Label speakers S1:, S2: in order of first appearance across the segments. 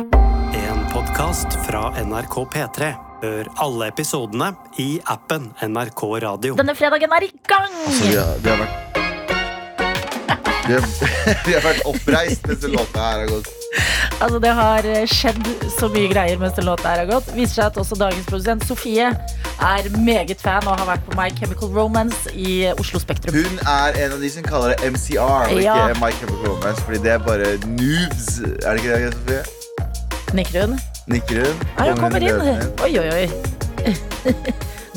S1: En podkast fra NRK P3. Hør alle episodene i appen NRK Radio.
S2: Denne fredagen Altså, er i gang!
S3: Vi har, vi har vært vi har, vi har vært oppreist mens den låta her har gått.
S2: Altså, det har eh, skjedd så mye greier mens den låta her har gått. Viser seg at også dagens produsent Sofie er meget fan og har vært på My Chemical Romance i eh, Oslo Spektrum.
S3: Hun er en av de som kaller det MCR, og
S2: Ja.
S3: ikke My Chemical Romance. Fordi det er bare noobs. Er det ikke det, Sofie?
S2: Nikker hun?
S3: Nikker hun?
S2: Nei, hun kommer inn.
S3: løpende
S2: Oi, oi, oi.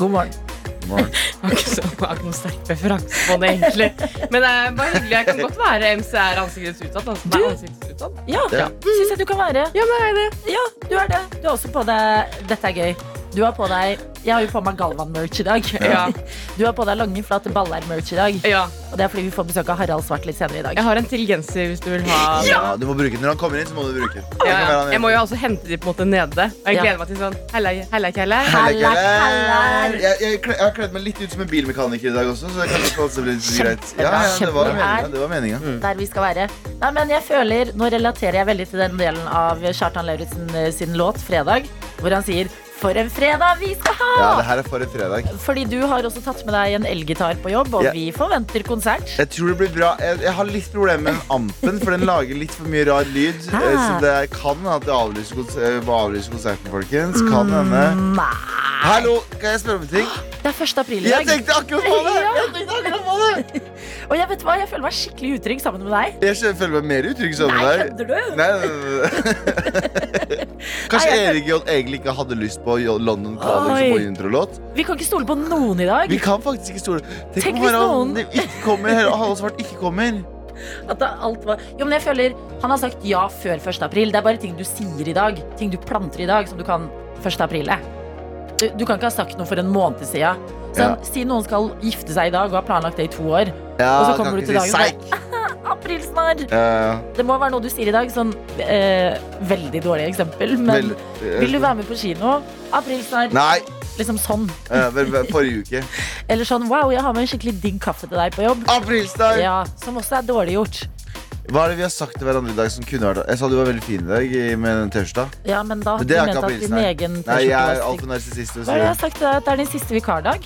S2: God morgen.
S3: inn? Morgen.
S4: har ikke så har ikke noen sterk preferanse på det, egentlig. Men det er bare hyggelig. Jeg kan godt være MCR ansiktets utsatt. Altså, Nei, ansiktets utsatt.
S2: Ja,
S3: Ja.
S2: syns jeg du kan være.
S4: Ja, men er det?
S2: Ja, du er det. Du har også på deg Dette er gøy. Du har på deg Jeg har jo på meg Galvan-merch i dag.
S4: Ja.
S2: Du har på deg lange, flate baller-merch i dag.
S4: ja.
S2: Og det er fordi vi får besøk av Harald Svart litt senere i dag.
S4: Jeg har en til genser hvis du vil ha den.
S3: Ja, du må bruke den. Når han kommer inn, så må du bruke den. Det
S4: Ja,
S3: kan
S4: ja.
S3: være han
S4: Jeg må jo også hente de på en måte nede. Og jeg
S2: Ja.
S4: gleder meg til sånn Hella, hella, hella.
S3: Heller ikke
S2: Heller,
S3: heller.
S2: heller.
S3: Jeg, jeg, kle- jeg har kledd meg litt ut som en bilmekaniker i dag også. Så det kan ikke også bli litt greit Ja, ja, det var
S2: Kjempebra.
S3: meningen, det var meningen.
S2: Der vi skal være. Nei, men jeg føler, Nå relaterer jeg veldig til den delen av Kjartan Lauritzen eh, sin låt 'Fredag', hvor han sier 'For en fredag vi skal ha'!
S3: Ja, det her er for en fredag.
S2: Fordi du har også tatt med deg en elgitar på jobb, og
S3: Ja.
S2: vi forventer konsert.
S3: Jeg tror det blir bra Jeg, jeg har litt problemer med den ampen, for den lager litt for mye rar lyd.
S2: Ah.
S3: eh, Så det kan at det avlyser, kons eh, må avlyse konserten, folkens. Kan
S2: Mm.
S3: hende.
S2: Nei.
S3: Hallo, kan jeg spørre om en ting?
S2: Det er 1. april i
S3: Jeg
S2: dag.
S3: tenkte akkurat på det!
S2: Ah, Ja.
S3: Jeg tenkte akkurat på det
S2: Og jeg vet hva, jeg føler meg skikkelig utrygg sammen med deg.
S3: Jeg kjenner- føler meg mer utrygg sammen
S2: Nei,
S3: med deg.
S2: kødder du?
S3: Nei, nei, nei, nei. Kanskje
S2: Nei, jeg-
S3: Erik John egentlig ikke hadde lyst på Jo- London Calling som
S2: Oi.
S3: vår introlåt.
S2: Vi kan ikke stole på noen i dag.
S3: Vi kan faktisk ikke stole
S2: Tenk
S3: om
S2: hvis
S3: Harald
S2: noen-
S3: ikke kommer. Harald Svart ikke kommer.
S2: At da alt var... Jo, men jeg føler Han har sagt ja før 1. april. Det er bare ting du sier i dag. Ting du planter i dag, som du kan 1. april. eh. Du, du kan ikke ha sagt noe for en måned siden. Sånn,
S3: Ja.
S2: Si noen skal gifte seg i dag og har planlagt det i to år.
S3: Ja,
S2: Og så
S3: kan
S2: kommer du til
S3: ikke si Eh,
S2: dagen
S3: «Seik!»
S2: Aprilsnarr!
S3: Ja, ja.
S2: Det må være noe du sier i dag. Sånn eh, veldig dårlig eksempel, men
S3: Vel, eh,
S2: vil du være med på kino? Aprilsnarr.
S3: Nei.
S2: Liksom sånn.
S3: eh, vel, vel, Forrige uke.
S2: Eller sånn wow, jeg har med en skikkelig digg kaffe til deg på jobb.
S3: Aprilsdag!
S2: Ja, Som også er dårlig gjort.
S3: Hva er det vi har sagt til hverandre i dag som kunne vært Jeg sa du var veldig fin i dag i- med den tirsdag.
S2: Ja, men da
S3: Men
S2: hadde
S3: det
S2: du
S3: er
S2: ment
S3: ikke
S2: at din
S3: aprilsnarr.
S2: egen
S3: Nei, jeg er
S2: T-skjorte var
S3: altfor
S2: stygg.
S3: narsissist.
S2: Hva
S3: og
S2: er det jeg har
S3: sier,
S2: sagt til deg? At det er din siste vikardag?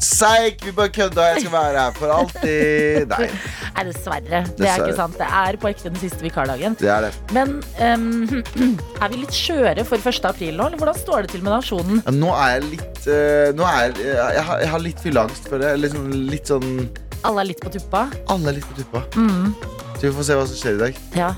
S3: Seik! Vi bare kødda. Jeg skal være her for alltid. Nei,
S2: Nei, dessverre. Det er
S3: Dessverre.
S2: ikke sant. Det er på ekte den siste vikardagen.
S3: det er det.
S2: Men ehm, er vi litt skjøre for 1. april nå, eller hvordan står det til med nasjonen?
S3: Ja, nå er jeg litt eh, Nå er jeg, jeg, har, jeg har litt fylleangst for det. Liksom, litt sånn
S2: Alle er litt på tuppa.
S3: Alle er litt på tuppa.
S2: Mm,
S3: Så vi får se hva som skjer i dag.
S2: ja.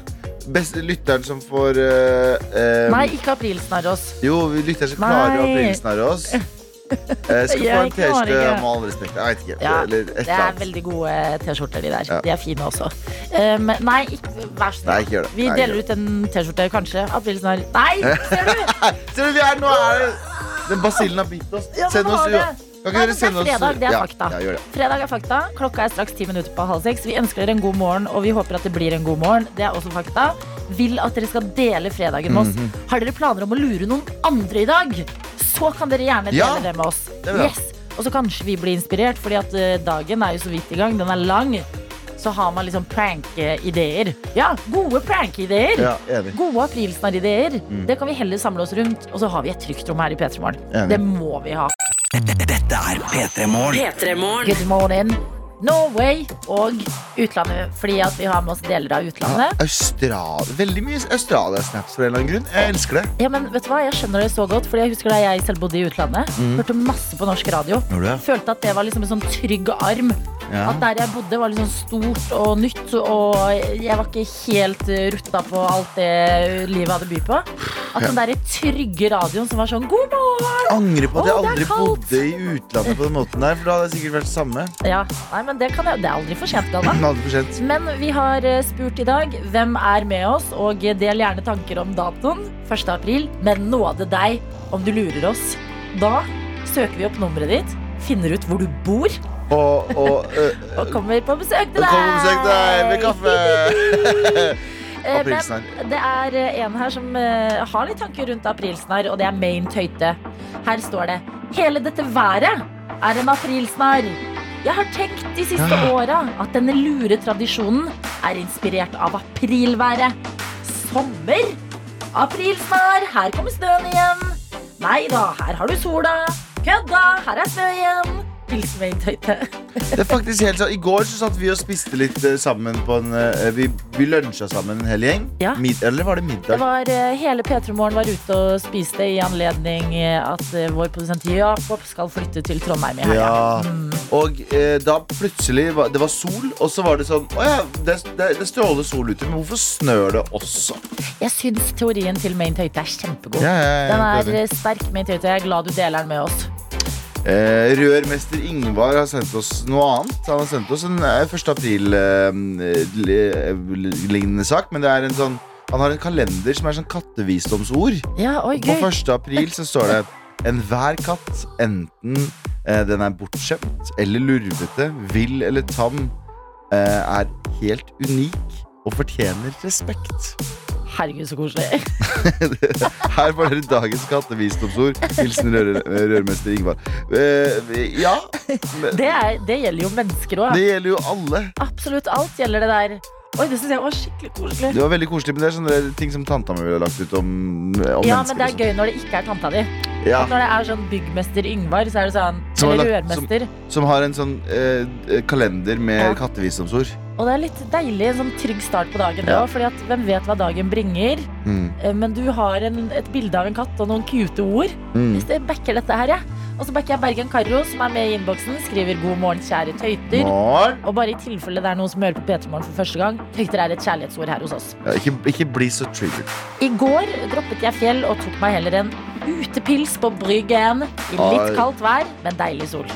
S3: Best, lytteren som får eh, eh,
S2: Nei, ikke aprilsnarr oss.
S3: Jo, vi lytteren som
S2: Nei.
S3: klarer å aprilsnarre oss. eh, skal få
S2: Jeg klarer
S3: en T-skjorte
S2: ikke.
S3: med all respekt. Jeg vet ikke.
S2: Ja,
S3: Eller et
S2: Det
S3: eller
S2: er
S3: annet.
S2: veldig gode eh, T-skjorter, de der.
S3: Ja.
S2: De er fine også. Ehm, nei, ikke, vær så
S3: Nei,
S2: snill.
S3: ikke gjør det.
S2: Vi
S3: Nei, ikke gjør
S2: deler ut en T-skjorte, kanskje. Aprilsnarr. Nei, ser du!
S3: Ser du, vi er, nå er det Den basillen har bitt oss.
S2: Ja,
S3: Send
S2: den
S3: oss
S2: har det.
S3: Kan
S2: Nei, men
S3: ikke
S2: det
S3: dere
S2: er
S3: sende oss
S2: fredag, det er
S3: ja,
S2: fakta.
S3: Ja, gjør det.
S2: Fredag er fakta. Klokka er straks ti minutter på halv seks. Vi ønsker dere en god morgen, og vi håper at det blir en god morgen. Det er også fakta. Vil at dere skal dele fredagen med oss.
S3: Mhm.
S2: Har dere planer om å lure noen andre i dag, så kan dere gjerne dele
S3: Ja,
S2: det med oss.
S3: er bra.
S2: Yes. Og så kanskje vi blir inspirert, fordi at eh, dagen er jo så vidt i gang. Den er lang. Så har man liksom prankeideer. Ja, gode prankeideer.
S3: Ja, enig.
S2: Gode aprilsnarr-ideer. Det kan vi heller samle oss rundt. Og så har vi et trygt rom her i P3 Morgen.
S3: Enig.
S2: Det må vi ha.
S5: Dette er P3 Morgen.
S2: Good morning. Norway og utlandet, fordi at vi har med oss deler av utlandet.
S3: Australia. Veldig mye Australia-snaps for en eller annen grunn. Jeg elsker det.
S2: Ja, men vet du hva? Jeg skjønner det så godt, fordi jeg husker da jeg selv bodde i utlandet. Hørte masse på norsk radio.
S3: Gjorde du det?
S2: Følte at det var liksom en sånn trygg arm.
S3: Ja.
S2: At der jeg bodde, var liksom stort og nytt, og jeg var ikke helt eh, rutta på alt det livet hadde by på. At den derre trygge radioen som var sånn God morgen!
S3: Jeg angrer på at
S2: Å,
S3: jeg
S2: det er
S3: aldri
S2: kaldt.
S3: bodde i utlandet på den måten der, for da hadde jeg sikkert vært det samme.
S2: Ja, nei, men det, kan jeg, det er aldri for sent, Galvan.
S3: Men aldri for sent.
S2: Men vi har eh, spurt i dag hvem er med oss, og del gjerne tanker om datoen. 1. april, men nåde deg om du lurer oss. Da søker vi opp nummeret ditt, finner ut hvor du bor,
S3: Og, og øh,
S2: og kommer på besøk til deg.
S3: Velkommen på besøk deg med kaffe!
S2: Eh,
S3: Aprilsnarr.
S2: Men det er eh, en her som eh, har litt tanker rundt aprilsnarr, og det er Maine Tøyte. Her står det Hele dette været er en aprilsnarr. Jeg har tenkt de siste åra at denne lure tradisjonen er inspirert av aprilværet. Sommer? April snar, her kommer snøen igjen. Nei da, her har du sola. Kødda, her er snø igjen. Hilsen med inntøyte.
S3: Det er faktisk helt sånn I går så satt vi og spiste litt eh, sammen på en eh, Vi, vi lunsja sammen en hel gjeng.
S2: Ja.
S3: Mid, eller var det
S2: Det
S3: middag?
S2: var, eh, hele P3 Morgen var ute og spiste i anledning eh, at eh, vår produsent Jakob skal flytte til Trondheim i Mm. helga.
S3: Ja. Og eh, da plutselig var, Det var sol, og så var det sånn Å ja, det, det, det stråler sol ute, men hvorfor snør det også?
S2: Jeg syns teorien til Main Tøyte er kjempegod.
S3: Ja, ja, ja,
S2: Den
S3: jeg
S2: er
S3: prøver.
S2: eh, sterk, Main Tøyte. Jeg er glad du deler den med oss.
S3: Eh, Rørmester Ingvar har sendt oss noe annet. Han har sendt oss en eh, 1. april-lignende sak, men det er en sånn Han har en kalender som er sånn kattevisdomsord.
S2: Ja, oi,
S3: På
S2: gøy.
S3: 1. april så står det Enhver katt, enten eh, den er bortskjemt eller lurvete, vill eller tam, eh, er helt unik og fortjener respekt.
S2: Herregud, så koselig.
S3: Her får dere dagens kattevisdomsord. Hilsen rør rørmester Ingvar. Eh, ja, men
S2: Det, er, det gjelder jo mennesker òg.
S3: det gjelder jo alle.
S2: Absolutt alt gjelder det der. Oi, det syns jeg var skikkelig koselig.
S3: Det var veldig koselig, men det er sånne ting som tanta mi ville lagt ut om, om
S2: Ja, men
S3: mennesker.
S2: det
S3: og
S2: er gøy når det ikke er tanta di.
S3: sånn. Ja,
S2: Når det er sånn byggmester Yngvar, så er det sånn
S3: Som har
S2: Eller
S3: lagt- som-
S2: rørmester.
S3: som har en sånn eh, kalender med
S2: Ja.
S3: kattevisdomsord.
S2: Og det er litt deilig, en sånn trygg start på dagen
S3: Ja.
S2: da, fordi at hvem vet hva dagen bringer.
S3: Mm.
S2: Eh, Men du har en, et bilde av en katt og noen cute ord.
S3: Mm.
S2: Så jeg backer dette her, jeg. Og så backer jeg Bergen Karro, som er med i innboksen. Skriver 'God morgen, kjære tøyter'.
S3: Morgen.
S2: Og bare i tilfelle det er noen som hører på P3 Morgen for første gang, tøyter er et kjærlighetsord her hos oss.
S3: Ja, ikke, ikke bli så triggered.
S2: I går droppet jeg fjell og tok meg heller en utepils på Bryggen. I litt
S3: Oi.
S2: kaldt vær, men deilig sol.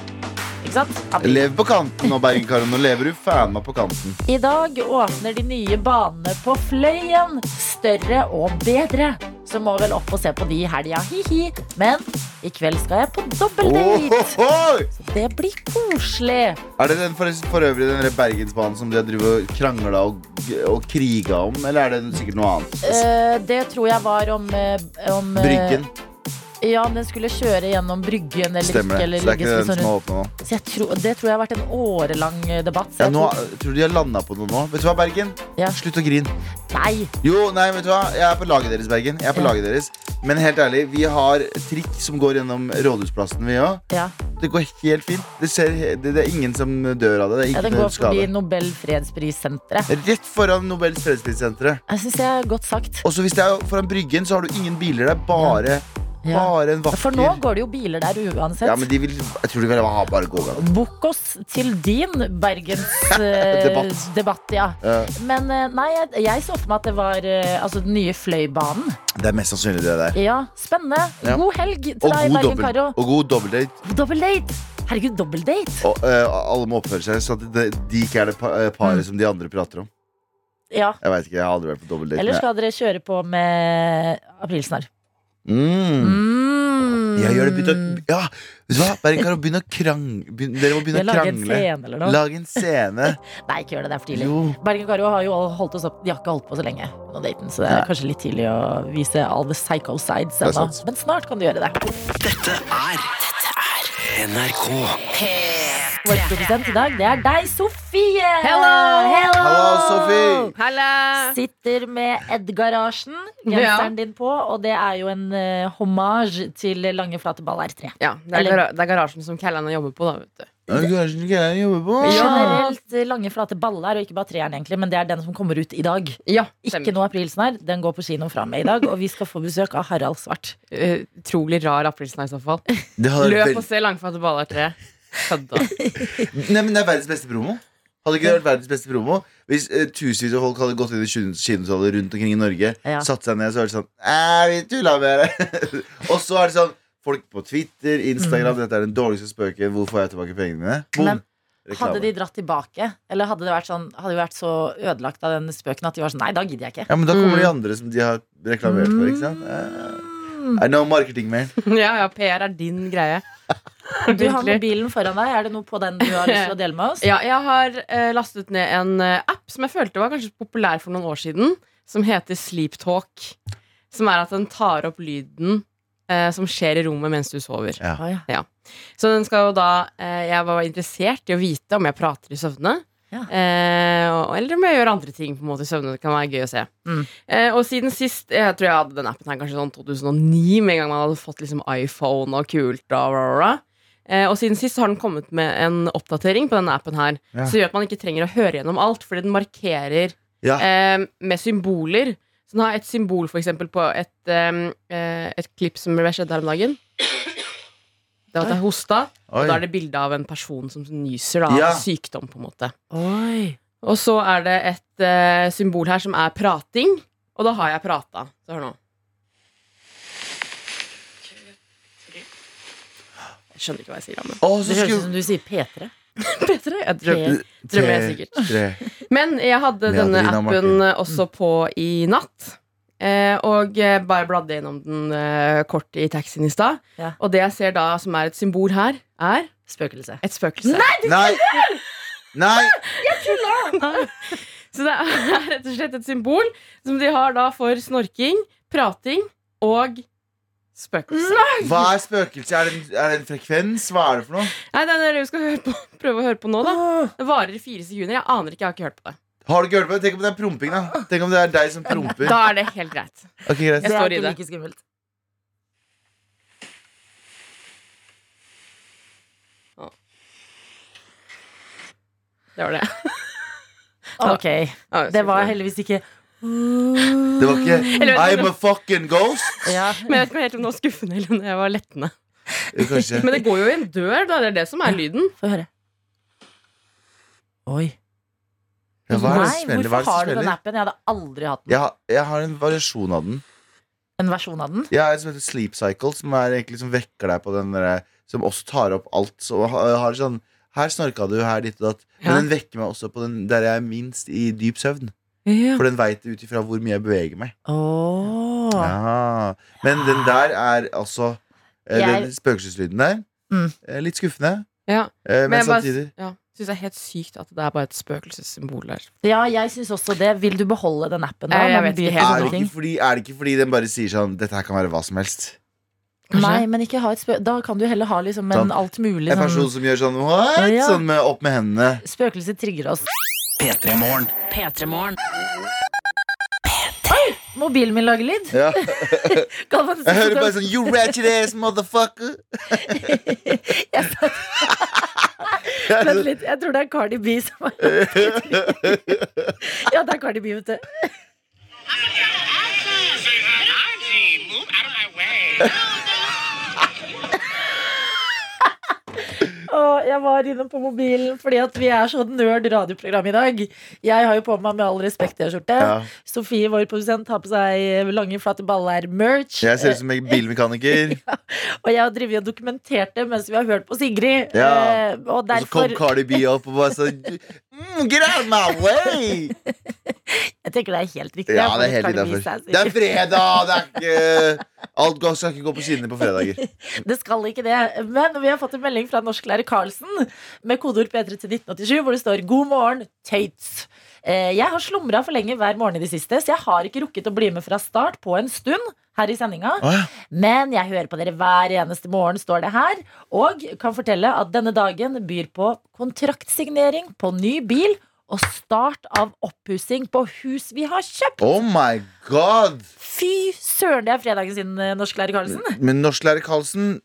S2: Ikke sant? April.
S3: Lev på kanten nå, Bergen-Karo. Nå lever du faen meg på kanten.
S2: I dag åpner de nye banene på Fløyen. Større og bedre. Så må vel opp og se på de i helga, hi-hi. Men i kveld skal jeg på dobbeldate.
S3: Ohoho!
S2: Det blir koselig.
S3: Er det den for, for øvrig den der Bergensbanen som de har drevet og krangla og, og kriga om, eller er det sikkert noe annet?
S2: Eh, det tror jeg var om, eh, om eh,
S3: Bryggen.
S2: Ja, om den skulle kjøre gjennom Bryggen eller
S3: Stemmer
S2: ikke. Eller
S3: det. Så det er ikke
S2: ligges
S3: den
S2: litt
S3: som
S2: sånn
S3: har
S2: rundt.
S3: åpna nå.
S2: Så jeg tror, det tror jeg har vært en årelang eh, debatt. Så
S3: Ja,
S2: jeg
S3: nå.
S2: tror-
S3: jeg Tror de har landa på noe nå? Vet du hva, Bergen?
S2: Ja.
S3: Slutt å grine.
S2: Nei,
S3: Jo, nei, vet du hva? Jeg er på laget deres, Bergen. Jeg er på
S2: Ja.
S3: laget deres. Men helt ærlig, vi har trikk som går gjennom Rådhusplassen, vi òg.
S2: ja.
S3: Det går helt fint. Det, ser, det, det er ingen som dør av det. Det er
S2: ja
S3: ikke
S2: Den
S3: noe
S2: går
S3: skade.
S2: forbi Nobel fredsprissenteret.
S3: Rett foran Nobels fredsprissentre.
S2: Jeg syns det er godt sagt.
S3: Og så hvis det er foran Bryggen, så har du ingen biler. Det er bare,
S2: Ja.
S3: bare en vakker
S2: For nå går det jo biler der uansett.
S3: Ja, men de vil Jeg tror de vil ha bare gåganger.
S2: Bok oss til din bergensdebatt,
S3: Debatt.
S2: debatt, ja.
S3: Ja.
S2: Men eh, nei, jeg, jeg så for meg at det var eh, altså, den nye Fløibanen.
S3: Det er mest sannsynlig det der.
S2: Ja, spennende.
S3: Ja.
S2: God helg til
S3: Og
S2: deg,
S3: god,
S2: Bergen
S3: dobbel,
S2: Karo.
S3: og god dobbeltdate.
S2: Double date! Herregud, double date!
S3: Og eh, alle må oppføre seg sånn at de, de ikke er det pa- eh,
S2: Mm.
S3: paret som de andre prater om.
S2: Ja.
S3: Jeg vet ikke, jeg har aldri vært på dobbeltdate.
S2: Eller
S3: men jeg-
S2: skal dere kjøre på med aprilsnarr?
S3: Mm.
S2: Mm.
S3: Ja, gjør det, begynn å, ja, vet du hva? Bergen Karo, begynn å krangle. Begynn, dere må begynne
S2: Jeg
S3: å
S2: lager en
S3: krangle.
S2: scene eller noe.
S3: Lag en scene.
S2: Nei, ikke gjør det. Det er for tidlig.
S3: Jo.
S2: Bergen Karo har jo holdt oss opp De har ikke holdt på så lenge, på daten, så det er
S3: Nei.
S2: kanskje litt tidlig å vise all the psycho sides
S3: er
S2: ennå.
S3: sant.
S2: Men snart kan du gjøre det.
S5: NRK.
S2: Vår produsent i dag, det er deg, Sofie!
S4: Hello!
S2: Hello!
S3: Hallo, Sofie!
S4: Halla!
S2: Sitter med Ed-garasjen,
S4: Ja.
S2: genseren din på, og det er jo en uh, hommage til Lange flate ball R3.
S4: Ja, det er,
S2: Eller-
S4: gara det er garasjen som Callan jobber på, da, vet du.
S3: Ja, det er kanskje ikke jeg jobber på.
S2: Generelt eh, Lange flate baller, og ikke bare treeren, egentlig, men det er den som kommer ut i dag.
S4: Ja,
S2: Ikke noe aprilsnarr, den går på kino fra meg i dag, og vi skal få besøk av Harald Svart.
S4: Eh, Utrolig rar aprilsnarr i så fall.
S3: Det hadde vært
S4: Løp
S3: veld-
S4: og se Langfatte baller 3. Kødda.
S3: Nei, men det er verdens beste promo. Hadde ikke det vært verdens beste promo Hvis eh, tusenvis av folk hadde gått inn i kino- kinosaler rundt omkring i Norge,
S2: Ja.
S3: satt seg ned, så er det sånn Æh, vi tulla med det. og så er det sånn Folk på Twitter,
S4: Mm.
S3: Instagram, dette er den dårligste spøken. Hvor får jeg tilbake pengene mine? Boom!
S2: Men
S3: Reklame.
S2: Hadde de dratt tilbake, eller hadde det vært sånn Hadde vi vært så ødelagt av den spøken at de var sånn Nei, da gidder jeg ikke.
S3: Ja, men da kommer
S4: Mm.
S3: de andre som de har reklamert for, ikke sant?
S2: Mm.
S3: Eh, I know marketing, man.
S4: Ja, ja, PR er din greie.
S2: Du har
S4: Virkelig.
S2: mobilen foran deg. Er det noe på den du har lyst til å dele med oss?
S4: Ja, jeg har eh, lastet ned en eh, app som jeg følte var kanskje populær for noen år siden, som heter Sleep Talk. Som er at den tar opp lyden eh, som skjer i rommet mens du sover.
S2: Å, ja.
S4: Så den skal jo da eh, Jeg var interessert i å vite om jeg prater i søvne.
S2: Ja.
S4: Eh, og- eller om jeg gjør andre ting på en måte i søvne. Det kan være gøy å se.
S2: Mm.
S4: Eh, og siden sist Jeg tror jeg hadde den appen her kanskje sånn 2009, med en gang man hadde fått liksom iPhone og kult. Og, bla, bla, bla. Eh, og siden sist har den kommet med en oppdatering på denne appen her.
S3: Ja.
S4: Som gjør at man ikke trenger å høre gjennom alt, fordi den markerer
S3: Ja.
S4: eh, med symboler. Så den har et symbol for eksempel på et, eh, eh, et klipp som skjedde her om dagen. Det var at jeg hosta.
S3: Oi.
S4: Og da er det bilde av en person som nyser da,
S3: Ja.
S4: av sykdom, på en måte.
S2: Oi.
S4: Og så er det et eh, symbol her som er prating, og da har jeg prata. Så hør nå. Jeg skjønner ikke hva jeg sier. Men.
S3: Å, så
S2: Det høres ut
S3: skulle
S2: som du sier P3.
S4: Bedre? Jeg drømmer, drømmer jeg sikkert.
S3: Tre.
S4: Men jeg hadde denne
S3: Adelina
S4: appen
S3: Martin.
S4: eh, også på i natt. Eh, og eh, bare bladde gjennom den eh, kort i taxien i stad.
S2: Ja.
S4: Og det jeg ser da som er et symbol her, er
S2: Spøkelse.
S4: et spøkelse.
S3: Nei! Nei!
S4: Så det er rett og slett et symbol som de har da for snorking, prating og spøkelse. Nei,
S3: Hva er spøkelse? Er det, en, er det en frekvens? Hva er det for noe?
S4: det er det vi skal høre på, prøve å høre på nå, da. Det varer i fire sekunder. Jeg aner ikke, jeg har ikke hørt på det.
S3: Har du ikke hørt på det? Tenk om det er promping, da. Tenk om det er deg som promper.
S4: Da er det helt greit.
S3: Ok, greit.
S4: Jeg
S2: Det
S4: står
S2: er
S4: i
S2: ikke
S4: det.
S2: like skummelt.
S4: Det var det.
S2: Ok,
S4: Ja, jeg
S2: Det var
S4: skal-
S2: heldigvis ikke
S3: Det var ikke
S4: Eller-
S3: I'm a fucking ghost.
S2: ja.
S4: Men jeg vet ikke helt om det var skuffende eller om det var lettende.
S3: Jo, Kanskje.
S4: Men det går jo i en dør, da. Det er det som er lyden.
S2: Få høre. Oi.
S3: Ja, hva er det som
S2: Nei,
S3: smeller? Hva
S2: hvorfor
S3: er det som
S2: har du den
S3: smeller?
S2: appen? Jeg hadde aldri hatt den.
S3: Jeg, har- jeg har en variasjon av den.
S2: En versjon av den.
S3: Jeg har en som heter Sleep Cycle, som er egentlig som vekker deg på den derre Som også tar opp alt. Så ha- har sånn Her snorka du, her ditt og datt.
S4: Ja.
S3: Men den vekker meg også på den der jeg er minst i dyp søvn. For den veit ut ifra hvor mye jeg beveger meg.
S2: Åh.
S3: Ja. Men den der er altså eh,
S2: Jeg-
S3: Den spøkelseslyden der.
S2: Mm.
S3: eh, Litt skuffende.
S4: Ja.
S3: eh, Men,
S4: Men jeg bare-
S3: samtidig
S4: Ja. Syns det er helt sykt at det er bare et spøkelsessymbol der.
S2: Ja, jeg syns også det. Vil du beholde den appen? da?
S4: Nei, jeg
S2: Man
S4: vet ikke.
S2: byr på
S3: er det,
S2: sånne ting.
S3: ikke fordi, er det ikke fordi den bare sier sånn Dette her kan være hva som helst?
S4: Kanskje?
S2: Nei, men ikke ha et spø da kan du heller ha liksom en
S3: Sånn.
S2: alt mulig
S3: En person
S2: sånn
S3: som gjør sånn What?
S2: Ja.
S3: Sånn med, opp med hendene.
S2: Spøkelse trigger oss.
S5: P3 Morgen.
S2: Mobilen min lager lyd.
S3: Ja.
S2: Kan man si
S3: Jeg hører
S2: sånn-
S3: bare sånn You ratchet ass motherfucker.
S2: Vent litt, jeg tror det er Cardi B som har Ja, det er Cardi B, vet du. Og jeg var inne på mobilen fordi at vi er så nerd radioprogram i dag. Jeg har jo på meg med all respekt T-skjorte.
S3: Ja.
S2: Sofie, vår produsent, har på seg lange, flate baller, merch.
S3: Jeg ser ut som en bilmekaniker.
S2: Og jeg har drevet og dokumentert det mens vi har hørt på Sigrid.
S3: Ja.
S2: Eh, Og
S3: Og så kom
S2: derfor
S3: Cardi B opp og bare sånn mm, Get out of my way!
S2: Jeg tenker det er helt riktig.
S3: Ja,
S2: Jeg
S3: det er helt
S2: får Cardi B
S3: innafor.
S2: seg,
S3: Det er fredag! Det er ikke Alt går- skal ikke gå på skinnene på fredager.
S2: Det skal ikke det. Men vi har fått en melding fra norsklærer Karlsen med kodeord P3 til 1987, hvor det står 'God morgen, tøyts'. Eh, Jeg har slumra for lenge hver morgen i det siste, så jeg har ikke rukket å bli med fra start på en stund her i sendinga.
S3: Å, ja.
S2: Men jeg hører på dere hver eneste morgen, står det her. Og kan fortelle at denne dagen byr på kontraktsignering på ny bil og start av oppussing på hus vi har kjøpt.
S3: Oh my god!
S2: Fy søren, det er fredagen sin, eh, norsklærer Karlsen.
S3: Men norsklærer Karlsen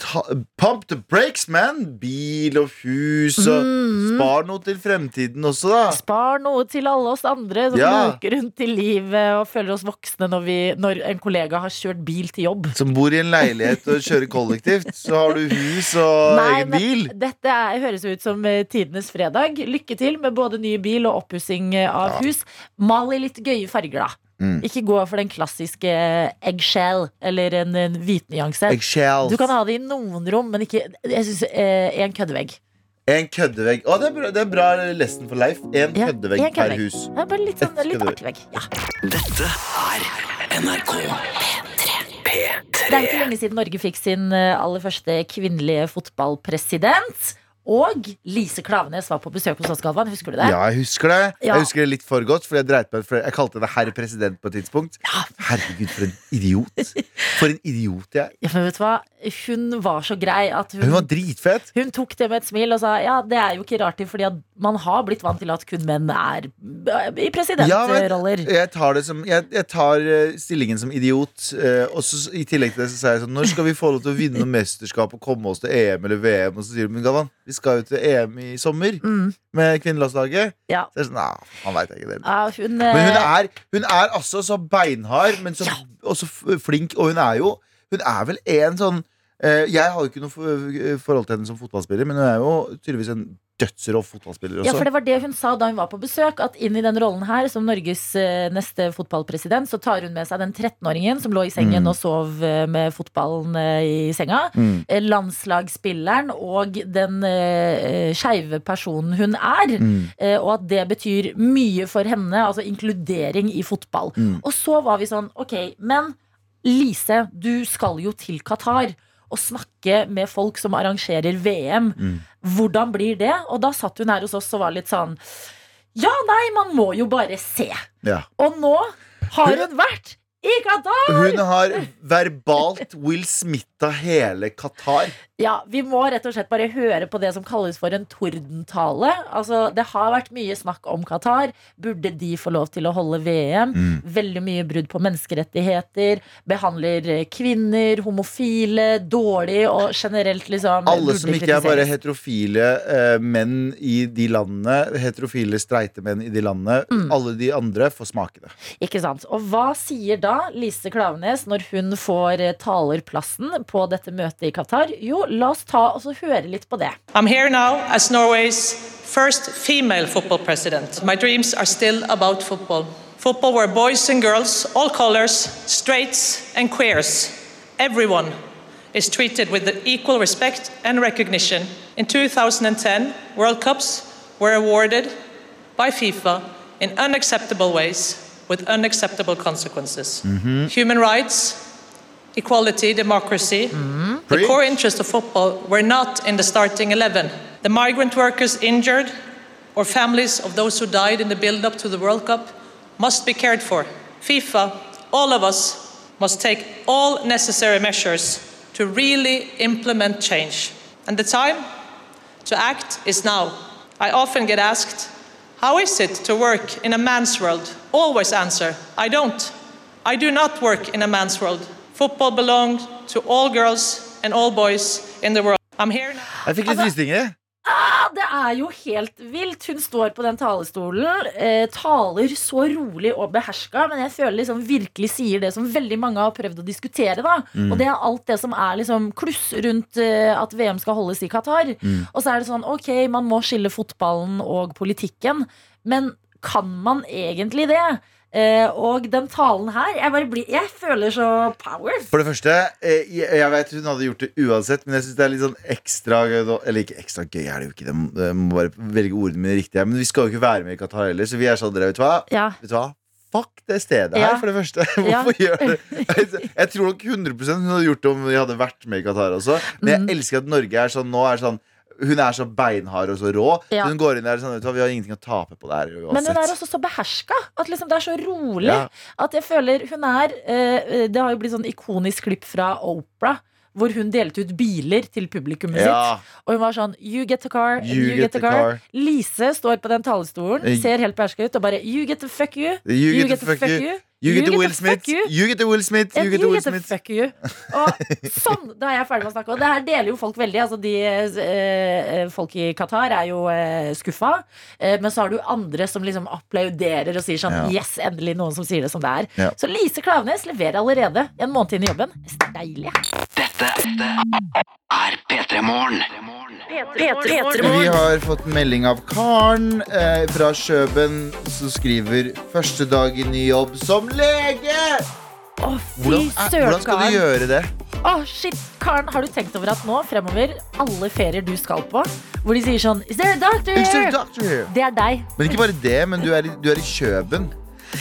S3: ta, Pump the brakes, man! Bil og hus og
S2: Mm.
S3: Spar noe til fremtiden også, da.
S2: Spar noe til alle oss andre som
S3: Ja.
S2: luker rundt i livet og føler oss voksne når, vi, når en kollega har kjørt bil til jobb.
S3: Som bor i en leilighet og kjører kollektivt. Så har du hus og
S2: Nei,
S3: egen
S2: men-
S3: bil.
S2: Dette er, høres jo ut som eh, tidenes fredag. Lykke til med både ny bil og oppussing eh, av hus. Mal i litt gøye farger, da.
S3: Mm.
S2: Ikke gå for den klassiske eh, eggshell eller en, en hvitnyanse.
S3: Eggshells.
S2: Du kan ha det i noen rom, men ikke Jeg syns eh, en køddevegg.
S3: En køddevegg. Å, det er bra, det er bra lesson for Leif. En
S2: Ja,
S3: køddevegg
S2: en
S3: per
S2: køddevegg.
S3: hus.
S2: Det er bare litt, sånn, litt
S3: Køddevegg.
S2: artig vegg. Ja.
S5: Dette er NRK P3.
S2: Det er ikke lenge siden Norge fikk sin eh, aller første kvinnelige fotballpresident. Og Lise Klavenes var på besøk hos oss, Galvan. Husker du det?
S3: Ja, jeg husker det.
S2: Ja.
S3: Jeg husker det litt for godt, for jeg dreit meg ut. for Jeg kalte det herr president på et tidspunkt. Herregud, for en idiot. For en idiot jeg er.
S2: Ja, men vet du hva? Hun var så grei at hun,
S3: Hun var dritfet.
S2: hun tok det med et smil og sa ja, det er jo ikke rart, fordi at man har blitt vant til at kun menn er eh, i
S3: Ja, men- Eh,
S2: presidentroller.
S3: Jeg tar, det som, jeg, jeg tar eh, stillingen som idiot. eh, og så, s- I tillegg til det så sa jeg sånn Når skal vi få lov til å vinne noe mesterskap og komme oss til EM eller VM? Og så sier du men Galvan, vi skal jo til EM i sommer
S2: Mm.
S3: med kvinnelandslaget.
S2: Ja.
S3: Så jeg er sånn, Nei, han veit ikke det.
S2: Ja, hun,
S3: Men hun
S2: eh,
S3: er, hun er altså så beinhard, men så, også f- eh, flink. Og hun er jo Hun er vel en sånn eh, Jeg har jo ikke noe for, forhold til henne som fotballspiller, men hun er jo tydeligvis en dødsrå fotballspiller også.
S2: Ja, for det var det hun sa da hun var på besøk, at inn i den rollen her, som Norges eh, neste fotballpresident, så tar hun med seg den 13-åringen som lå i sengen
S3: Mm.
S2: og sov eh, med fotballen eh, i senga.
S3: Mm.
S2: eh, Landslagsspilleren og den eh, eh, skeive personen hun er.
S3: Mm.
S2: eh, Og at det betyr mye for henne, altså inkludering i fotball.
S3: Mm.
S2: Og så var vi sånn, ok, men Lise, du skal jo til Qatar og snakke med folk som arrangerer VM.
S3: Mm.
S2: Hvordan blir det? Og da satt hun her hos oss og var litt sånn Ja, nei, man må jo bare se.
S3: Ja.
S2: Og nå har hun vært i Qatar!
S3: Hun har verbalt Will Smith av hele Qatar.
S2: Ja, Vi må rett og slett bare høre på det som kalles for en tordentale. Altså, Det har vært mye snakk om Qatar. Burde de få lov til å holde VM? Veldig mye brudd på menneskerettigheter. Behandler eh, kvinner, homofile dårlig og generelt liksom
S3: Alle
S2: burde
S3: som ikke er bare
S2: kritiseres.
S3: heterofile eh, menn i de landene, heterofile streite menn i de landene,
S2: Mm.
S3: alle de andre får smake det.
S2: Ikke sant? Og hva sier da Lise Klavenes når hun får eh, talerplassen på dette møtet i Qatar? Jo, la oss ta og så høre litt på det.
S6: I'm here now as Norway's first female football president. My dreams are still about football. Football where boys and girls, all colors, straights and queers, everyone is treated with equal respect and recognition. In 2010, World Cups were awarded by FIFA in unacceptable ways with unacceptable consequences. Human rights, equality, democracy, the core interests of football were not in the starting 11. The migrant workers injured or families of those who died in the build up to the World Cup must be cared for. FIFA, all of us, must take all necessary measures to really implement change. And the time to act is now. I often get asked, How is it to work in a man's world? Always answer, I don't. I do not work in a man's world. Football belongs to all girls and all boys in the world. I'm here now.
S3: Jeg fikk litt
S2: Altså-
S3: frysninger. jeg.
S2: Ja, det er jo helt vilt. Hun står på den talerstolen, eh, taler så rolig og beherska, men jeg føler liksom virkelig sier det som veldig mange har prøvd å diskutere, da. Og det er alt det som er liksom kluss rundt eh, at VM skal holdes i Qatar. Og så er det sånn, ok, man må skille fotballen og politikken, men kan man egentlig det? Eh, og den talen her, jeg bare blir Jeg føler så power.
S3: For det første, eh, jeg, jeg vet hun hadde gjort det uansett, men jeg syns det er litt sånn ekstra gøy nå- Eller ikke ekstra gøy, er det jo ikke. Det må, jeg må bare velge ordene mine riktig. her, Men vi skal jo ikke være med i Qatar heller, så vi er sånn dere, vet du hva?
S2: Ja.
S3: Vet du hva? Fuck det stedet
S2: Ja.
S3: her, for det første.
S2: Ja.
S3: Hvorfor gjør det? Jeg, jeg tror nok 100 hun hadde gjort det om vi hadde vært med i Qatar også. Men
S2: Mm.
S3: jeg elsker at Norge er sånn nå er sånn Hun er så beinhard og så rå.
S2: Ja.
S3: Så hun går inn der og sånn, vet du hva, vi har ingenting å tape på det her
S2: Men hun er
S3: uansett.
S2: også så beherska. At liksom det er så rolig.
S3: Ja.
S2: At jeg føler hun er eh, Det har jo blitt sånn ikonisk klipp fra Opera. Hvor hun delte ut biler til publikummet
S3: Ja.
S2: sitt. Og hun var sånn You get the car, and you, get, the car. Lise står på den talerstolen,
S3: Eh.
S2: ser helt beherska ut og bare You get the fuck you.
S3: You, get, the fuck, you. You, get, the Will
S2: fuck
S3: Smith.
S2: you.
S3: You get the Will Smith.
S2: And
S3: You get the Will
S2: the
S3: Smith.
S2: fuck you. Og sånn, da er jeg ferdig med å snakke. Og det her deler jo folk veldig. Altså, de eh, folk i Qatar er jo eh, skuffa. Eh, men så har du andre som liksom applauderer og sier sånn
S3: Ja.
S2: Yes, endelig noen som sier det som det er.
S3: Ja.
S2: Så Lise Klaveness leverer allerede en måned inn i jobben. Deilig.
S5: Dette er P3 Morgen.
S3: Vi har fått melding av Karen eh, fra Kjøben som skriver første dag i ny jobb som lege!
S2: Å, fy
S3: Hvordan, er, hvordan
S2: søren,
S3: skal du
S2: Karen.
S3: gjøre det?
S2: Å, shit, Karen, har du tenkt over at nå fremover, alle ferier du skal på, hvor de sier sånn Is there a doctor
S3: Is there a
S2: here?
S3: doctor here?
S2: Det er deg.
S3: Men ikke bare det, men du er i, du er i Kjøben.